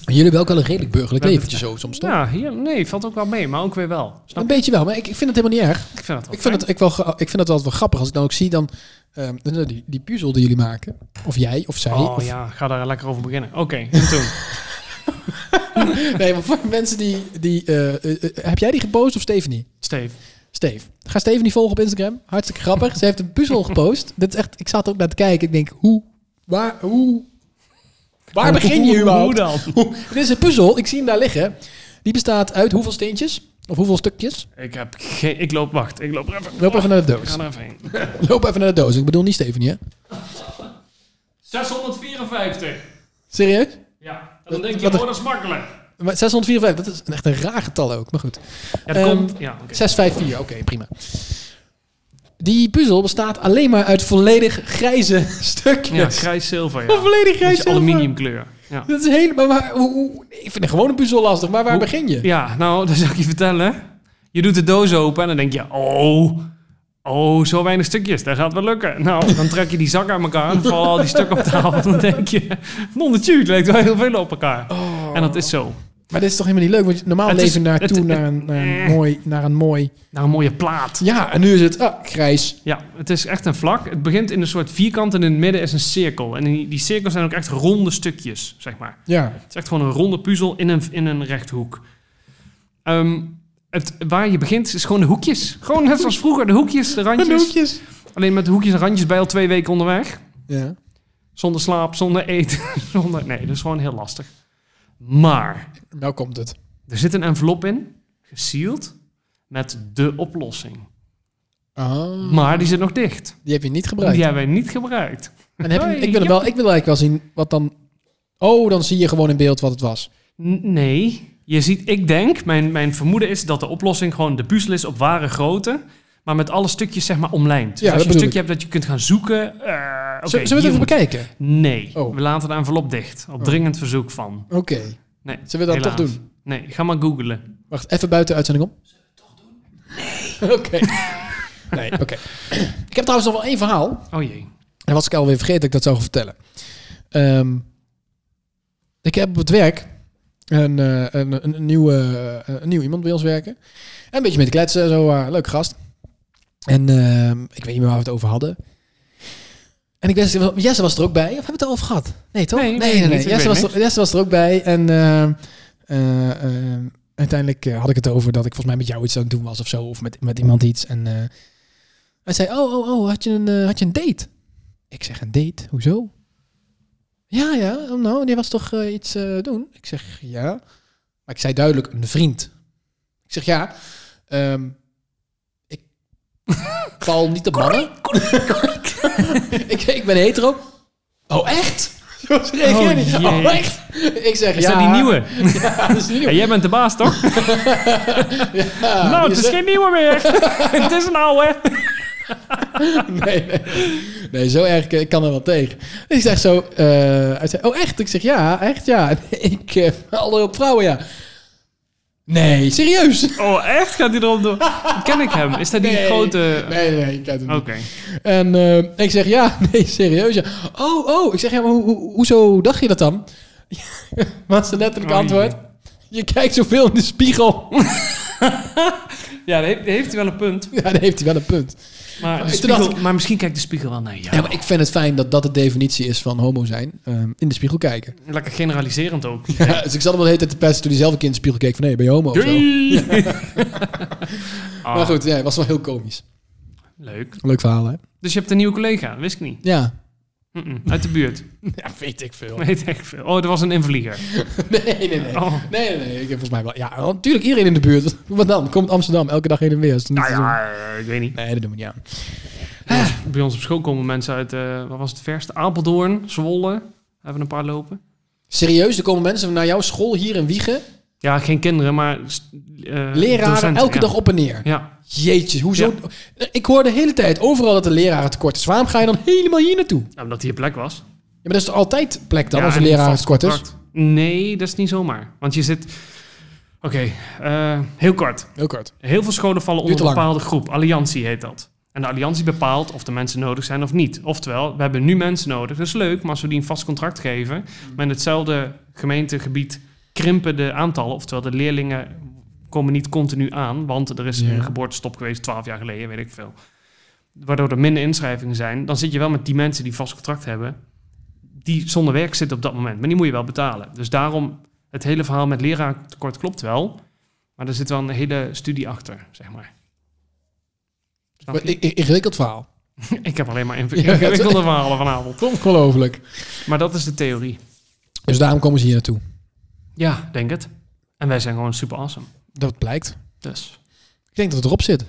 [SPEAKER 2] Jullie hebben ook wel een redelijk burgerlijk
[SPEAKER 1] We
[SPEAKER 2] leventje zo soms, toch?
[SPEAKER 1] ja, hier, nee, valt ook wel mee, maar ook weer wel. Snap
[SPEAKER 2] Een
[SPEAKER 1] je?
[SPEAKER 2] beetje wel, maar ik, ik vind het helemaal niet erg.
[SPEAKER 1] Ik vind dat wel
[SPEAKER 2] Ik vind, het, ik, wel, gra- ik vind het altijd wel grappig als ik dan ook zie dan ehm, die, die puzzel die jullie maken. Of jij of zij.
[SPEAKER 1] fijn. Oh
[SPEAKER 2] of,
[SPEAKER 1] ja, ga daar lekker over beginnen. Oké, en toen?
[SPEAKER 2] Nee, maar voor mensen die. die eh, eh, eh, heb jij die gepost of Stephanie?
[SPEAKER 1] Steve.
[SPEAKER 2] Steve. Ga Stephanie volgen op Instagram. Hartstikke grappig. Ze heeft een puzzel gepost. Dit is echt, ik zat er ook naar te kijken. Ik denk, hoe. Waar, hoe, waar begin je
[SPEAKER 1] Hoe- Hoe
[SPEAKER 2] überhaupt?
[SPEAKER 1] dan?
[SPEAKER 2] Dit is een puzzel. Ik zie hem daar liggen. Die bestaat uit hoeveel steentjes? Of hoeveel stukjes?
[SPEAKER 1] Ik heb geen... Ik loop, wacht. Ik loop er even...
[SPEAKER 2] Loop even naar de
[SPEAKER 1] Ik
[SPEAKER 2] doos.
[SPEAKER 1] ga er even heen.
[SPEAKER 2] Loop even naar de doos. Ik bedoel niet Stephanie, hè?
[SPEAKER 1] 654.
[SPEAKER 2] Serieus?
[SPEAKER 1] Ja.
[SPEAKER 2] dan denk je, Wat- oh,
[SPEAKER 1] dat is makkelijk.
[SPEAKER 2] Maar 654, dat is een- echt een raar getal ook. Maar goed.
[SPEAKER 1] Ja, dat
[SPEAKER 2] Ehm,
[SPEAKER 1] komt... Ja, oké.
[SPEAKER 2] 654, oké, prima. Die puzzel bestaat alleen maar uit volledig grijze stukjes.
[SPEAKER 1] Ja, grijs zilver, ja.
[SPEAKER 2] Een volledig
[SPEAKER 1] Beetje
[SPEAKER 2] grijs zilver.
[SPEAKER 1] aluminiumkleur. Ja.
[SPEAKER 2] Dat is helemaal... Maar, hoe- hoe- ik vind een gewone puzzel lastig, maar waar
[SPEAKER 1] Hoe-
[SPEAKER 2] begin je?
[SPEAKER 1] Ja, nou, dat zal ik je vertellen. Je doet de doos open en dan denk je, oh, oh, zo weinig stukjes, dat gaat wel lukken. Nou, dan trek je die zak aan elkaar en vallen al die stukken op tafel. Dan denk je, non het lijkt wel heel veel op elkaar. En dat is zo.
[SPEAKER 2] Maar dit is toch helemaal niet leuk? Want je- normaal
[SPEAKER 1] Het is-
[SPEAKER 2] leven we naartoe
[SPEAKER 1] het-
[SPEAKER 2] naar, een, naar, een
[SPEAKER 1] eh.
[SPEAKER 2] mooi, naar een mooi...
[SPEAKER 1] Naar Nou, een mooie plaat.
[SPEAKER 2] Ja, en nu is het ah, grijs.
[SPEAKER 1] Ja, het is echt een vlak. Het begint in een soort vierkant en in het midden is een cirkel. En die, die cirkels zijn ook echt ronde stukjes, zeg maar.
[SPEAKER 2] Ja.
[SPEAKER 1] Het is echt gewoon een ronde puzzel in een, in een rechthoek. Ehm, het, waar je begint is gewoon de hoekjes. Gewoon net zoals vroeger, de hoekjes, de randjes.
[SPEAKER 2] Hoekjes.
[SPEAKER 1] Alleen met hoekjes en randjes bij al twee weken onderweg.
[SPEAKER 2] Ja.
[SPEAKER 1] Zonder slaap, zonder eten, zonder... Nee, dat is gewoon heel lastig. Maar,
[SPEAKER 2] Nou komt het.
[SPEAKER 1] er zit een envelop in, gesield, met de oplossing.
[SPEAKER 2] Ah,
[SPEAKER 1] Maar die zit nog dicht.
[SPEAKER 2] die heb je niet gebruikt.
[SPEAKER 1] Die hebben wij niet gebruikt.
[SPEAKER 2] En heb je,
[SPEAKER 1] Hoi,
[SPEAKER 2] ik, wil hem wel, ik wil eigenlijk wel zien wat dan... Oh, dan zie je gewoon in beeld wat het was.
[SPEAKER 1] N- nee, je ziet, ik denk, mijn, mijn vermoeden is dat de oplossing gewoon de puzzel is op ware grootte... Maar met alle stukjes zeg maar omlijnd. Dus
[SPEAKER 2] Ja,
[SPEAKER 1] als je
[SPEAKER 2] dat
[SPEAKER 1] een
[SPEAKER 2] bedoel
[SPEAKER 1] stukje hebt dat je kunt gaan zoeken... eh oké,
[SPEAKER 2] Zullen- Zullen we
[SPEAKER 1] hier
[SPEAKER 2] het
[SPEAKER 1] moet-
[SPEAKER 2] even bekijken?
[SPEAKER 1] Nee,
[SPEAKER 2] Oh.
[SPEAKER 1] we laten de envelop dicht. Op dringend verzoek van.
[SPEAKER 2] Oké.
[SPEAKER 1] Nee,
[SPEAKER 2] Zullen we dat
[SPEAKER 1] helaas.
[SPEAKER 2] toch doen?
[SPEAKER 1] Nee, ga maar googlen.
[SPEAKER 2] Wacht, even buiten de uitzending om. Zullen we het toch doen? Nee. Oké. Nee, oké. ik heb trouwens nog wel één verhaal.
[SPEAKER 1] Oh jee.
[SPEAKER 2] En was ik alweer vergeten dat ik dat zou vertellen. Ehm, ik heb op het werk een, eh, een, een, een nieuw, eh, een nieuw iemand bij ons werken. En een beetje mee te kletsen, zo eh, leuk gast. En ehm, ik weet niet meer waar we het over hadden. En ik wist, Jesse was er ook bij. Of hebben we het al over gehad? Nee, toch?
[SPEAKER 1] Nee, nee, niet. Ik
[SPEAKER 2] Jesse,
[SPEAKER 1] weet
[SPEAKER 2] was er, Jesse was er ook bij. En ehm, eh, ehm, uiteindelijk eh, had ik het over dat ik volgens mij met jou iets aan het doen was of zo. Of met, met iemand iets. En eh, hij zei, oh, oh, oh, had je een, eh, had je een date? Ik zeg, een date? Hoezo? Ja, ja, oh, nou, die was toch eh, iets eh, doen? Ik zeg, ja. Maar ik zei duidelijk, een vriend. Ik zeg, ja, ehm, ik val niet op mannen. ik, ik ben hetero. Oh, echt? Zo reageerde hij.
[SPEAKER 1] Oh, jee.
[SPEAKER 2] Oh, echt? Ik zeg,
[SPEAKER 1] Is
[SPEAKER 2] ja.
[SPEAKER 1] dat die nieuwe?
[SPEAKER 2] Ja, dat is die
[SPEAKER 1] Ja,
[SPEAKER 2] nieuwe.
[SPEAKER 1] jij bent de baas, toch?
[SPEAKER 2] Ja,
[SPEAKER 1] nou, het
[SPEAKER 2] die
[SPEAKER 1] is
[SPEAKER 2] zegt-
[SPEAKER 1] geen nieuwe meer. het is nou, een oude.
[SPEAKER 2] nee, nee. nee, zo erg, eh, ik kan er wel tegen. Dus ik zeg zo, eh, hij zei, oh echt? Ik zeg, ja, echt, ja. En ik eh val op vrouwen, ja. Nee, serieus?
[SPEAKER 1] Oh, echt? Gaat hij erop door? Ken ik hem? Is dat die
[SPEAKER 2] Nee.
[SPEAKER 1] grote...
[SPEAKER 2] Nee, nee, ik ken het
[SPEAKER 1] Oké.
[SPEAKER 2] niet. En eh, ik zeg, ja, nee, serieus. Ja. Oh, oh. Ik zeg, ja, maar hoe, hoe- hoezo dacht je dat dan? Wat ze letterlijk
[SPEAKER 1] Oh,
[SPEAKER 2] antwoord. Je kijkt zoveel in de spiegel.
[SPEAKER 1] Ja, daar heeft, daar heeft hij wel een punt.
[SPEAKER 2] ja, dan heeft hij wel een punt.
[SPEAKER 1] Maar, de
[SPEAKER 2] Toen
[SPEAKER 1] spiegel-
[SPEAKER 2] dacht ik-
[SPEAKER 1] maar misschien kijkt de spiegel wel naar jou.
[SPEAKER 2] Ja, maar ik vind het fijn dat dat de definitie is van homo zijn. ehm, in de spiegel kijken.
[SPEAKER 1] Lekker generaliserend ook.
[SPEAKER 2] Ja, dus ik zat hem wel de hele tijd te pesten toen hij zelf een keer in de spiegel keek van... Hé, hey, ben je homo of zo?
[SPEAKER 1] Doei! Ah,
[SPEAKER 2] Maar goed, ja, het was wel heel komisch.
[SPEAKER 1] Leuk.
[SPEAKER 2] Leuk verhaal, hè?
[SPEAKER 1] Dus je hebt een nieuwe collega, wist ik niet.
[SPEAKER 2] Ja.
[SPEAKER 1] Mm-mm, Uit de buurt.
[SPEAKER 2] Ja, weet ik veel.
[SPEAKER 1] Weet ik veel. Oh, er was een invlieger.
[SPEAKER 2] Nee, nee, nee. Nee,
[SPEAKER 1] Oh.
[SPEAKER 2] nee, nee. Ik heb volgens mij wel... Ja, oh, natuurlijk iedereen in de buurt. Wat dan? Komt Amsterdam elke dag heen en weer. Is het niet
[SPEAKER 1] Nou
[SPEAKER 2] te doen?
[SPEAKER 1] ja, eh, ik weet niet.
[SPEAKER 2] Nee, dat doen we niet aan.
[SPEAKER 1] Bij ons op school komen mensen uit, eh, wat was het verste? Apeldoorn, Zwolle. Hebben we een paar lopen.
[SPEAKER 2] Serieus, er komen mensen naar jouw school hier in Wiegen
[SPEAKER 1] Ja, geen kinderen, maar... st- eh,
[SPEAKER 2] Leraren
[SPEAKER 1] docenten,
[SPEAKER 2] elke
[SPEAKER 1] ja.
[SPEAKER 2] dag op en neer.
[SPEAKER 1] Ja,
[SPEAKER 2] Jeetje, hoezo? Ik hoor de hele tijd overal dat de leraren tekort is. Waarom ga je dan helemaal hier naartoe? Ja,
[SPEAKER 1] Ja, omdat hier plek was.
[SPEAKER 2] maar dat is toch altijd plek dan,
[SPEAKER 1] Ja,
[SPEAKER 2] als de
[SPEAKER 1] en
[SPEAKER 2] leraren
[SPEAKER 1] vast
[SPEAKER 2] tekort is?
[SPEAKER 1] contract. Nee, dat is niet zomaar. Want je zit... Oké, eh, heel kort.
[SPEAKER 2] Heel kort.
[SPEAKER 1] Heel veel scholen vallen
[SPEAKER 2] Duurt
[SPEAKER 1] onder
[SPEAKER 2] te
[SPEAKER 1] een
[SPEAKER 2] lang.
[SPEAKER 1] bepaalde groep. Alliantie heet dat. En de alliantie bepaalt of de mensen nodig zijn of niet. Oftewel, we hebben nu mensen nodig. Dat is leuk, maar als we die een vast contract geven... maar in hetzelfde gemeentegebied krimpen de aantallen. Oftewel, de leerlingen komen niet continu aan... want er is
[SPEAKER 2] Ja.
[SPEAKER 1] een geboortestop geweest, twaalf jaar geleden, weet ik veel. Waardoor er minder inschrijvingen zijn. Dan zit je wel met die mensen die vast contract hebben... die zonder werk zitten op dat moment. Maar die moet je wel betalen. Dus daarom, het hele verhaal met leraartekort klopt wel... Maar er zit wel een hele studie achter, zeg maar. Snap
[SPEAKER 2] Maar
[SPEAKER 1] je?
[SPEAKER 2] ik- ik- Ingewikkeld verhaal.
[SPEAKER 1] Ik heb alleen maar inv-
[SPEAKER 2] Ja, dat-
[SPEAKER 1] ingewikkelde verhalen vanavond.
[SPEAKER 2] Ongelooflijk.
[SPEAKER 1] Maar dat is de theorie.
[SPEAKER 2] Dus daarom komen ze hier naartoe.
[SPEAKER 1] Ja, denk het. En wij zijn gewoon super awesome.
[SPEAKER 2] Dat blijkt.
[SPEAKER 1] Dus.
[SPEAKER 2] Ik denk dat het erop zit.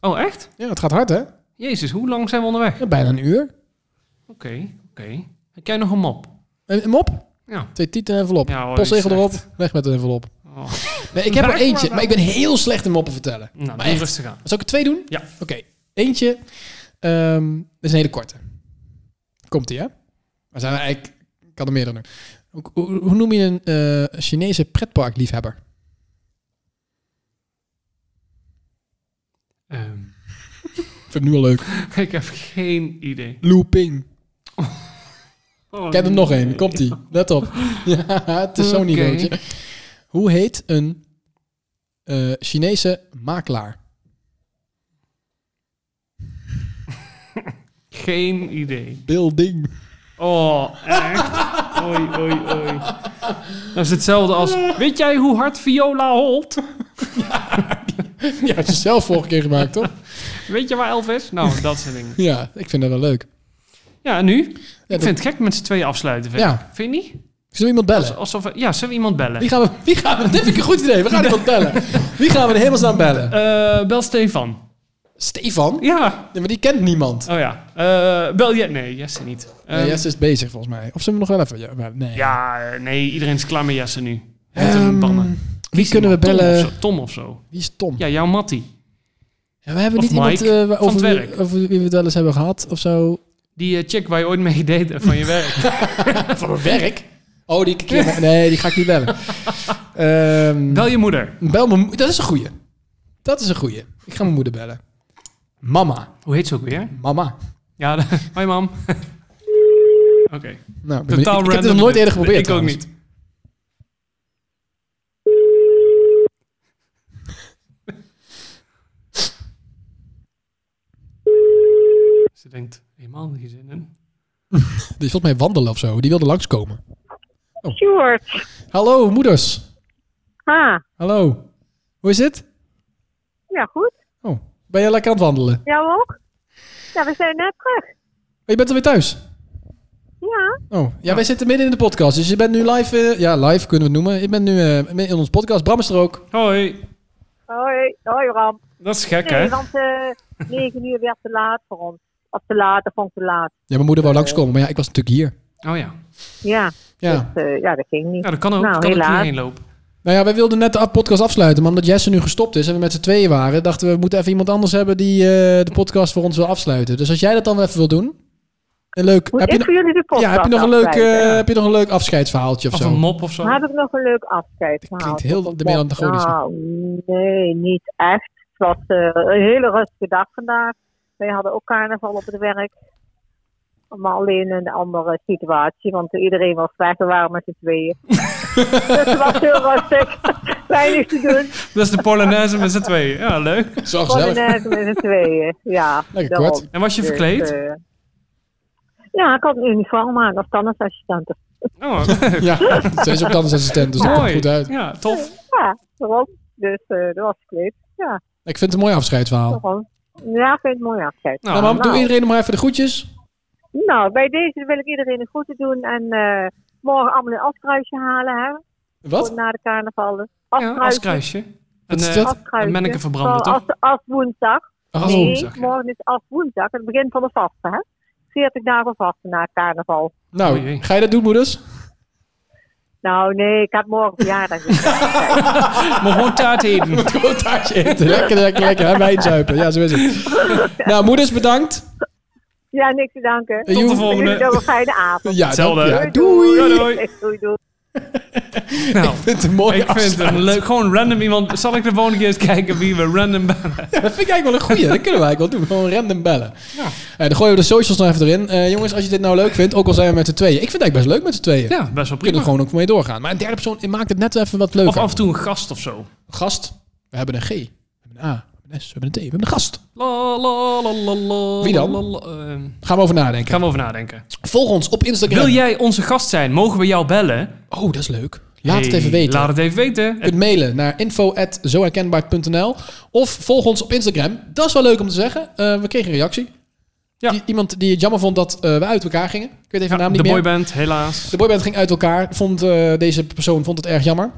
[SPEAKER 1] Oh, echt?
[SPEAKER 2] Ja, het gaat hard, hè?
[SPEAKER 1] Jezus, hoe lang zijn we onderweg? Oké,
[SPEAKER 2] Ja, bijna een uur.
[SPEAKER 1] oké. Heb jij nog een mop?
[SPEAKER 2] Een, een mop?
[SPEAKER 1] Ja.
[SPEAKER 2] Eh, Twee tieten en envelop.
[SPEAKER 1] Ja, hoor,
[SPEAKER 2] Postzegel
[SPEAKER 1] die is
[SPEAKER 2] erop. Weg met een envelop.
[SPEAKER 1] Oh.
[SPEAKER 2] Nee, ik heb er
[SPEAKER 1] Weg maar
[SPEAKER 2] eentje,
[SPEAKER 1] dan.
[SPEAKER 2] maar ik ben heel slecht in moppen vertellen.
[SPEAKER 1] Nou,
[SPEAKER 2] Maar
[SPEAKER 1] doe
[SPEAKER 2] echt.
[SPEAKER 1] rustig aan.
[SPEAKER 2] Zal ik er twee doen?
[SPEAKER 1] Ja.
[SPEAKER 2] Oké. Eentje. ehm, dit is een hele korte. Komt-ie, hè? Maar zijn we eigenlijk... Ik kan er meerdere doen. Hoe, hoe, hoe noem je een eh, Chinese pretparkliefhebber?
[SPEAKER 1] Ehm,
[SPEAKER 2] Vind ik nu al leuk.
[SPEAKER 1] ik heb geen idee.
[SPEAKER 2] Looping.
[SPEAKER 1] Oh,
[SPEAKER 2] Ik heb er nog
[SPEAKER 1] nee.
[SPEAKER 2] één. Komt-ie. Let op. ja, het is zo'n
[SPEAKER 1] Oké.
[SPEAKER 2] niveautje. Hoe heet een eh, Chinese makelaar?
[SPEAKER 1] Geen idee.
[SPEAKER 2] Building.
[SPEAKER 1] Oh, echt? Oei, oei, oei. Dat is hetzelfde als... Weet jij hoe hard Viola holt?
[SPEAKER 2] Ja, dat is zelf vorige keer gemaakt, toch?
[SPEAKER 1] Weet je waar Elf is? Nou, dat soort dingen.
[SPEAKER 2] Ja, ik vind dat wel leuk.
[SPEAKER 1] Ja, en nu?
[SPEAKER 2] dat-
[SPEAKER 1] ik vind het gek met z'n tweeën afsluiten. Vind,
[SPEAKER 2] Ja.
[SPEAKER 1] ik. vind je niet?
[SPEAKER 2] Zullen we iemand bellen?
[SPEAKER 1] Alsof we- ja, zullen we iemand bellen?
[SPEAKER 2] Wie gaan we... Wie gaan we dit vind ik een goed idee. We gaan iemand bellen. Wie gaan we de hemelsnaam bellen?
[SPEAKER 1] Eh, bel Stefan.
[SPEAKER 2] Stefan?
[SPEAKER 1] Ja.
[SPEAKER 2] Nee, maar die kent niemand.
[SPEAKER 1] Oh ja. Eh, bel je? Nee, Jesse niet.
[SPEAKER 2] Nee,
[SPEAKER 1] Ehm,
[SPEAKER 2] Jesse is bezig volgens mij. Of zullen we nog wel even... Ja, maar nee.
[SPEAKER 1] Ja, eh, nee, iedereen is klaar met Jesse nu. Met
[SPEAKER 2] Ehm,
[SPEAKER 1] hem bannen.
[SPEAKER 2] wie
[SPEAKER 1] Kies
[SPEAKER 2] kunnen we
[SPEAKER 1] iemand. Tom
[SPEAKER 2] bellen?
[SPEAKER 1] of, zo, Tom of zo.
[SPEAKER 2] Wie is Tom?
[SPEAKER 1] Ja, jouw Mattie.
[SPEAKER 2] Ja, we hebben
[SPEAKER 1] Of
[SPEAKER 2] niet iemand
[SPEAKER 1] Mike,
[SPEAKER 2] eh,
[SPEAKER 1] van
[SPEAKER 2] waar- over,
[SPEAKER 1] het
[SPEAKER 2] wie,
[SPEAKER 1] werk.
[SPEAKER 2] over wie we het wel eens hebben gehad of zo.
[SPEAKER 1] Die eh, chick waar je ooit mee gedate hebt van je werk.
[SPEAKER 2] Van mijn werk? Oh, die keer, Nee, die ga ik niet bellen. Ehm,
[SPEAKER 1] bel je moeder.
[SPEAKER 2] bel mijn mo- Dat is een goeie. Dat is een goeie. Ik ga mijn moeder bellen. Mama.
[SPEAKER 1] Hoe heet ze ook weer?
[SPEAKER 2] Mama.
[SPEAKER 1] Ja, de- hoi mam. Oké.
[SPEAKER 2] Nou, ik
[SPEAKER 1] Totaal
[SPEAKER 2] ben- ik, ik
[SPEAKER 1] random.
[SPEAKER 2] heb het nog nooit eerder geprobeerd.
[SPEAKER 1] Ik ook
[SPEAKER 2] trouwens.
[SPEAKER 1] niet. Ze denkt helemaal geen zin in.
[SPEAKER 2] Die is volgens mij wandelen of zo. Die wilde langskomen.
[SPEAKER 5] Sjoerd.
[SPEAKER 2] Hallo, moeders.
[SPEAKER 5] Ah,
[SPEAKER 2] Hallo. Hoe is het?
[SPEAKER 5] ja goed.
[SPEAKER 2] Oh, ben je lekker aan het wandelen? Oh,
[SPEAKER 5] Jou ook? Ja, we zijn net terug.
[SPEAKER 2] je bent alweer thuis?
[SPEAKER 5] Ja,
[SPEAKER 2] Oh, ja, wij zitten midden in de podcast. Dus je bent nu live. eh, ja, live kunnen we het noemen. Ik ben nu eh, in ons podcast. Bram is er ook.
[SPEAKER 1] Hoi.
[SPEAKER 5] hoi. Hoi Ram.
[SPEAKER 1] Dat is gek,
[SPEAKER 5] Nee,
[SPEAKER 1] hè?
[SPEAKER 5] want eh, 9 uur werd te laat voor ons. Of te laat, dat vond ik te laat.
[SPEAKER 2] Ja, mijn moeder wou langskomen, maar ja, ik was natuurlijk hier.
[SPEAKER 1] Oh ja.
[SPEAKER 5] Ja,
[SPEAKER 2] Ja.
[SPEAKER 5] dus, eh, ja dat ging niet.
[SPEAKER 1] Ja, dat kan ook.
[SPEAKER 5] Nou,
[SPEAKER 1] kan ook
[SPEAKER 5] helaas.
[SPEAKER 1] hierheen lopen.
[SPEAKER 2] Nou ja, wij wilden net de af- podcast afsluiten. Maar omdat Jesse nu gestopt is en we met z'n tweeën waren, dachten we, we moeten even iemand anders hebben die eh, de podcast voor ons wil afsluiten. Dus als jij dat dan wel even wil doen. Een leuk.
[SPEAKER 5] Moet ik
[SPEAKER 2] no-
[SPEAKER 5] voor jullie de podcast
[SPEAKER 2] ja, heb je nog een leuk, eh,
[SPEAKER 5] afsluiten?
[SPEAKER 2] heb je nog een leuk afscheidsverhaaltje of,
[SPEAKER 1] Of
[SPEAKER 2] zo?
[SPEAKER 1] een mop of zo.
[SPEAKER 5] Maar heb ik nog een leuk afscheid
[SPEAKER 2] klinkt
[SPEAKER 5] gehaald?
[SPEAKER 2] heel
[SPEAKER 5] Op-
[SPEAKER 2] de melancholisch.
[SPEAKER 5] Nou, nee, niet echt. Het was eh, een hele rustige dag vandaag. Wij hadden ook carnaval op het werk. Maar alleen in een andere situatie, want iedereen was weg. We waren met z'n tweeën. dus het was heel rustig. Weinig te doen.
[SPEAKER 1] Dat is de Polonaise met z'n tweeën. Ja, leuk.
[SPEAKER 2] Zo
[SPEAKER 5] Gewoon
[SPEAKER 2] gezellig.
[SPEAKER 5] net met z'n tweeën. Ja,
[SPEAKER 2] Lekker
[SPEAKER 5] daarom.
[SPEAKER 2] kort.
[SPEAKER 1] En was je
[SPEAKER 5] Dus,
[SPEAKER 1] verkleed?
[SPEAKER 5] eh, ja, ik had een uniform aan, of tandartsassistenten.
[SPEAKER 1] Oh,
[SPEAKER 2] Ja,
[SPEAKER 5] eh,
[SPEAKER 2] ze is ook dansassistent, dus dat komt
[SPEAKER 1] mooi.
[SPEAKER 2] goed uit.
[SPEAKER 1] Ja, tof.
[SPEAKER 5] Ja, daarom. Dus eh dat was verkleed. Ja,
[SPEAKER 2] Ik vind het een mooi afscheidsverhaal.
[SPEAKER 5] daarom. Ja, ik vind het mooi afscheid.
[SPEAKER 1] Oh. Nou,
[SPEAKER 2] Nou, mam, doe
[SPEAKER 5] nou.
[SPEAKER 2] iedereen nog maar even de groetjes.
[SPEAKER 5] Nou, bij deze wil ik iedereen de groeten doen. En eh, morgen allemaal een afkruisje halen, hè?
[SPEAKER 2] Wat?
[SPEAKER 1] Oh,
[SPEAKER 5] Voor
[SPEAKER 1] nou.
[SPEAKER 5] na de carnaval.
[SPEAKER 1] ja, als
[SPEAKER 5] Afkruisje.
[SPEAKER 1] kruisje. En,
[SPEAKER 2] is
[SPEAKER 1] eh,
[SPEAKER 2] dat?
[SPEAKER 5] afkruisje.
[SPEAKER 1] Menneke verbranden,
[SPEAKER 5] Vooral
[SPEAKER 1] toch?
[SPEAKER 5] Als, als woensdag.
[SPEAKER 2] Oh,
[SPEAKER 5] nee,
[SPEAKER 1] woensdag, ja.
[SPEAKER 5] morgen is af woensdag. Het begin van de vasten, hè? 40 dagen vasten na het carnaval.
[SPEAKER 2] Nou,
[SPEAKER 1] Oei, oei.
[SPEAKER 2] ga je dat doen, moeders?
[SPEAKER 5] Nou, nee, ik heb morgen verjaardag.
[SPEAKER 1] Maar gewoon taart eten.
[SPEAKER 2] Gewoon taartje eten. Lekker, lekker, lekker. En wijn zuipen. Ja, zo is het. Nou, moeders, bedankt.
[SPEAKER 5] ja, niks te danken.
[SPEAKER 2] Tot de
[SPEAKER 1] volgende.
[SPEAKER 5] Jullie nog een fijne avond.
[SPEAKER 2] Ja,
[SPEAKER 1] Hetzelfde.
[SPEAKER 2] dank- ja, doei.
[SPEAKER 1] Doei, doei.
[SPEAKER 5] doei, doei.
[SPEAKER 1] Nou,
[SPEAKER 2] Ik vind het een mooie
[SPEAKER 1] ik vind het een leuk. Gewoon random iemand. Zal ik de volgende keer eens kijken wie we random bellen?
[SPEAKER 2] Dat vind ik eigenlijk wel een goeie. Dat kunnen we eigenlijk wel doen. Gewoon random bellen.
[SPEAKER 1] Ja.
[SPEAKER 2] Eh, dan gooien we de socials nog even erin. Eh, jongens, als je dit nou leuk vindt, ook al zijn we met z'n tweeën. Ik vind het eigenlijk best leuk met z'n tweeën. We
[SPEAKER 1] Ja, best wel
[SPEAKER 2] kunnen
[SPEAKER 1] prima.
[SPEAKER 2] er gewoon ook mee doorgaan. Maar een derde persoon maakt het net even wat leuker.
[SPEAKER 1] Of af en toe een gast of zo.
[SPEAKER 2] Gast, we hebben een G. We hebben een A. We hebben een S. We hebben een T. We hebben een gast.
[SPEAKER 1] La, la, la, la, la,
[SPEAKER 2] Wie dan?
[SPEAKER 1] la, la, la, eh,
[SPEAKER 2] Gaan we over nadenken.
[SPEAKER 1] gaan we over nadenken.
[SPEAKER 2] Volg ons op Instagram.
[SPEAKER 1] Wil jij onze gast zijn? Mogen we jou bellen?
[SPEAKER 2] Oh, dat is leuk. Laat het
[SPEAKER 1] Hey,
[SPEAKER 2] even weten.
[SPEAKER 1] Laat het even weten.
[SPEAKER 2] Je kunt mailen naar info.zoherkenbaar.nl of volg ons op Instagram. Dat is wel leuk om te zeggen. Eh, we kregen een reactie.
[SPEAKER 1] Ja.
[SPEAKER 2] Die- iemand die het jammer vond dat eh, we uit elkaar gingen. Ik weet even de naam niet
[SPEAKER 1] de
[SPEAKER 2] meer.
[SPEAKER 1] boyband, helaas.
[SPEAKER 2] De boyband ging uit elkaar. Vond, eh, deze persoon vond het erg jammer.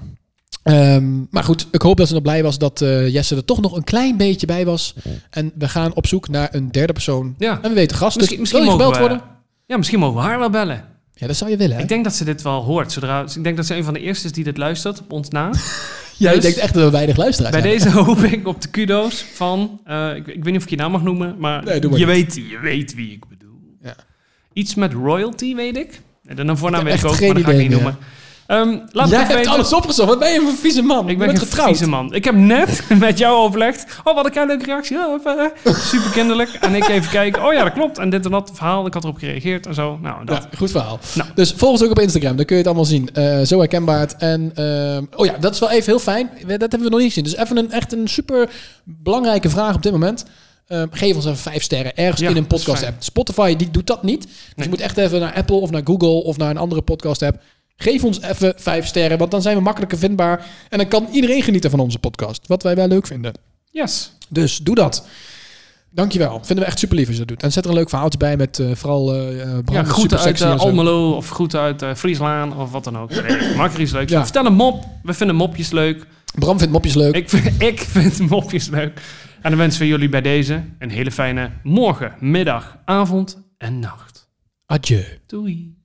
[SPEAKER 2] Ehm, maar goed, ik hoop dat ze nog blij was dat eh, Jesse er toch nog een klein beetje bij was. En we gaan op zoek naar een derde persoon.
[SPEAKER 1] Ja.
[SPEAKER 2] En we weten gast.
[SPEAKER 1] Misschien,
[SPEAKER 2] dus
[SPEAKER 1] misschien
[SPEAKER 2] wil je
[SPEAKER 1] mogen
[SPEAKER 2] gebeld
[SPEAKER 1] we,
[SPEAKER 2] worden?
[SPEAKER 1] Ja, misschien mogen we haar wel bellen.
[SPEAKER 2] Ja, dat zou je willen. Hè?
[SPEAKER 1] Ik denk dat ze dit wel hoort. Zodra, ik denk dat ze een van de eerste is die dit luistert op ons na.
[SPEAKER 2] Jij
[SPEAKER 1] dus-
[SPEAKER 2] denkt echt dat we weinig luisteraars
[SPEAKER 1] Bij
[SPEAKER 2] hebben.
[SPEAKER 1] deze hoop ik op de kudo's van... eh, ik, ik weet niet of ik je naam mag noemen, maar,
[SPEAKER 2] Nee, doe maar
[SPEAKER 1] je, weet, je weet wie ik bedoel.
[SPEAKER 2] Ja.
[SPEAKER 1] Iets met royalty, weet ik. En dan een voornaam
[SPEAKER 2] Ik
[SPEAKER 1] weet
[SPEAKER 2] heb
[SPEAKER 1] ik ook,
[SPEAKER 2] echt
[SPEAKER 1] maar dat
[SPEAKER 2] geen
[SPEAKER 1] ga ik niet
[SPEAKER 2] idee
[SPEAKER 1] noemen. Ehm, laat
[SPEAKER 2] Jij
[SPEAKER 1] het even
[SPEAKER 2] hebt
[SPEAKER 1] weten.
[SPEAKER 2] alles opgezocht. Wat ben je voor een vieze man?
[SPEAKER 1] Ik
[SPEAKER 2] Je
[SPEAKER 1] ben
[SPEAKER 2] bent
[SPEAKER 1] geen
[SPEAKER 2] getrouwd.
[SPEAKER 1] vieze man. Ik heb net met jou overlegd. Oh, wat een kei leuke reactie. Ja, eh, super kinderlijk. En ik even kijken. Oh ja, dat klopt. En dit en dat verhaal. Ik had erop gereageerd en zo. Nou, dat.
[SPEAKER 2] Ja, goed verhaal.
[SPEAKER 1] Nou.
[SPEAKER 2] Dus volg ons ook op Instagram, dan kun je het allemaal zien. Eh, zo herkenbaar. het. En ehm, oh ja, dat is wel even heel fijn. We- Dat hebben we nog niet gezien. Dus even een echt een super belangrijke vraag op dit moment. Ehm, geef ons even vijf sterren ergens
[SPEAKER 1] Ja,
[SPEAKER 2] in een
[SPEAKER 1] dat is
[SPEAKER 2] podcast app. Spotify die doet dat niet. Dus
[SPEAKER 1] Nee.
[SPEAKER 2] je moet echt even naar Apple of naar Google of naar een andere podcast app. Geef ons even vijf sterren, want dan zijn we makkelijker vindbaar. En dan kan iedereen genieten van onze podcast. Wat wij wel leuk vinden.
[SPEAKER 1] Yes.
[SPEAKER 2] Dus doe dat. Dankjewel. Vinden we echt super lief als je dat doet. En zet er een leuk verhaaltje bij met eh, vooral eh eh, Bram,
[SPEAKER 1] Ja,
[SPEAKER 2] super
[SPEAKER 1] groeten uit
[SPEAKER 2] sexy
[SPEAKER 1] eh,
[SPEAKER 2] en zo.
[SPEAKER 1] Almelo of groeten uit eh, Frieslaan of wat dan ook. Weet ik. Maak er iets leuks
[SPEAKER 2] Ja.
[SPEAKER 1] van. Vertel een mop. We vinden mopjes leuk.
[SPEAKER 2] Bram vindt mopjes leuk.
[SPEAKER 1] Ik, vind- ik vind mopjes leuk. En dan wensen we jullie bij deze een hele fijne morgen, middag, avond en nacht.
[SPEAKER 2] Adieu.
[SPEAKER 1] Doei.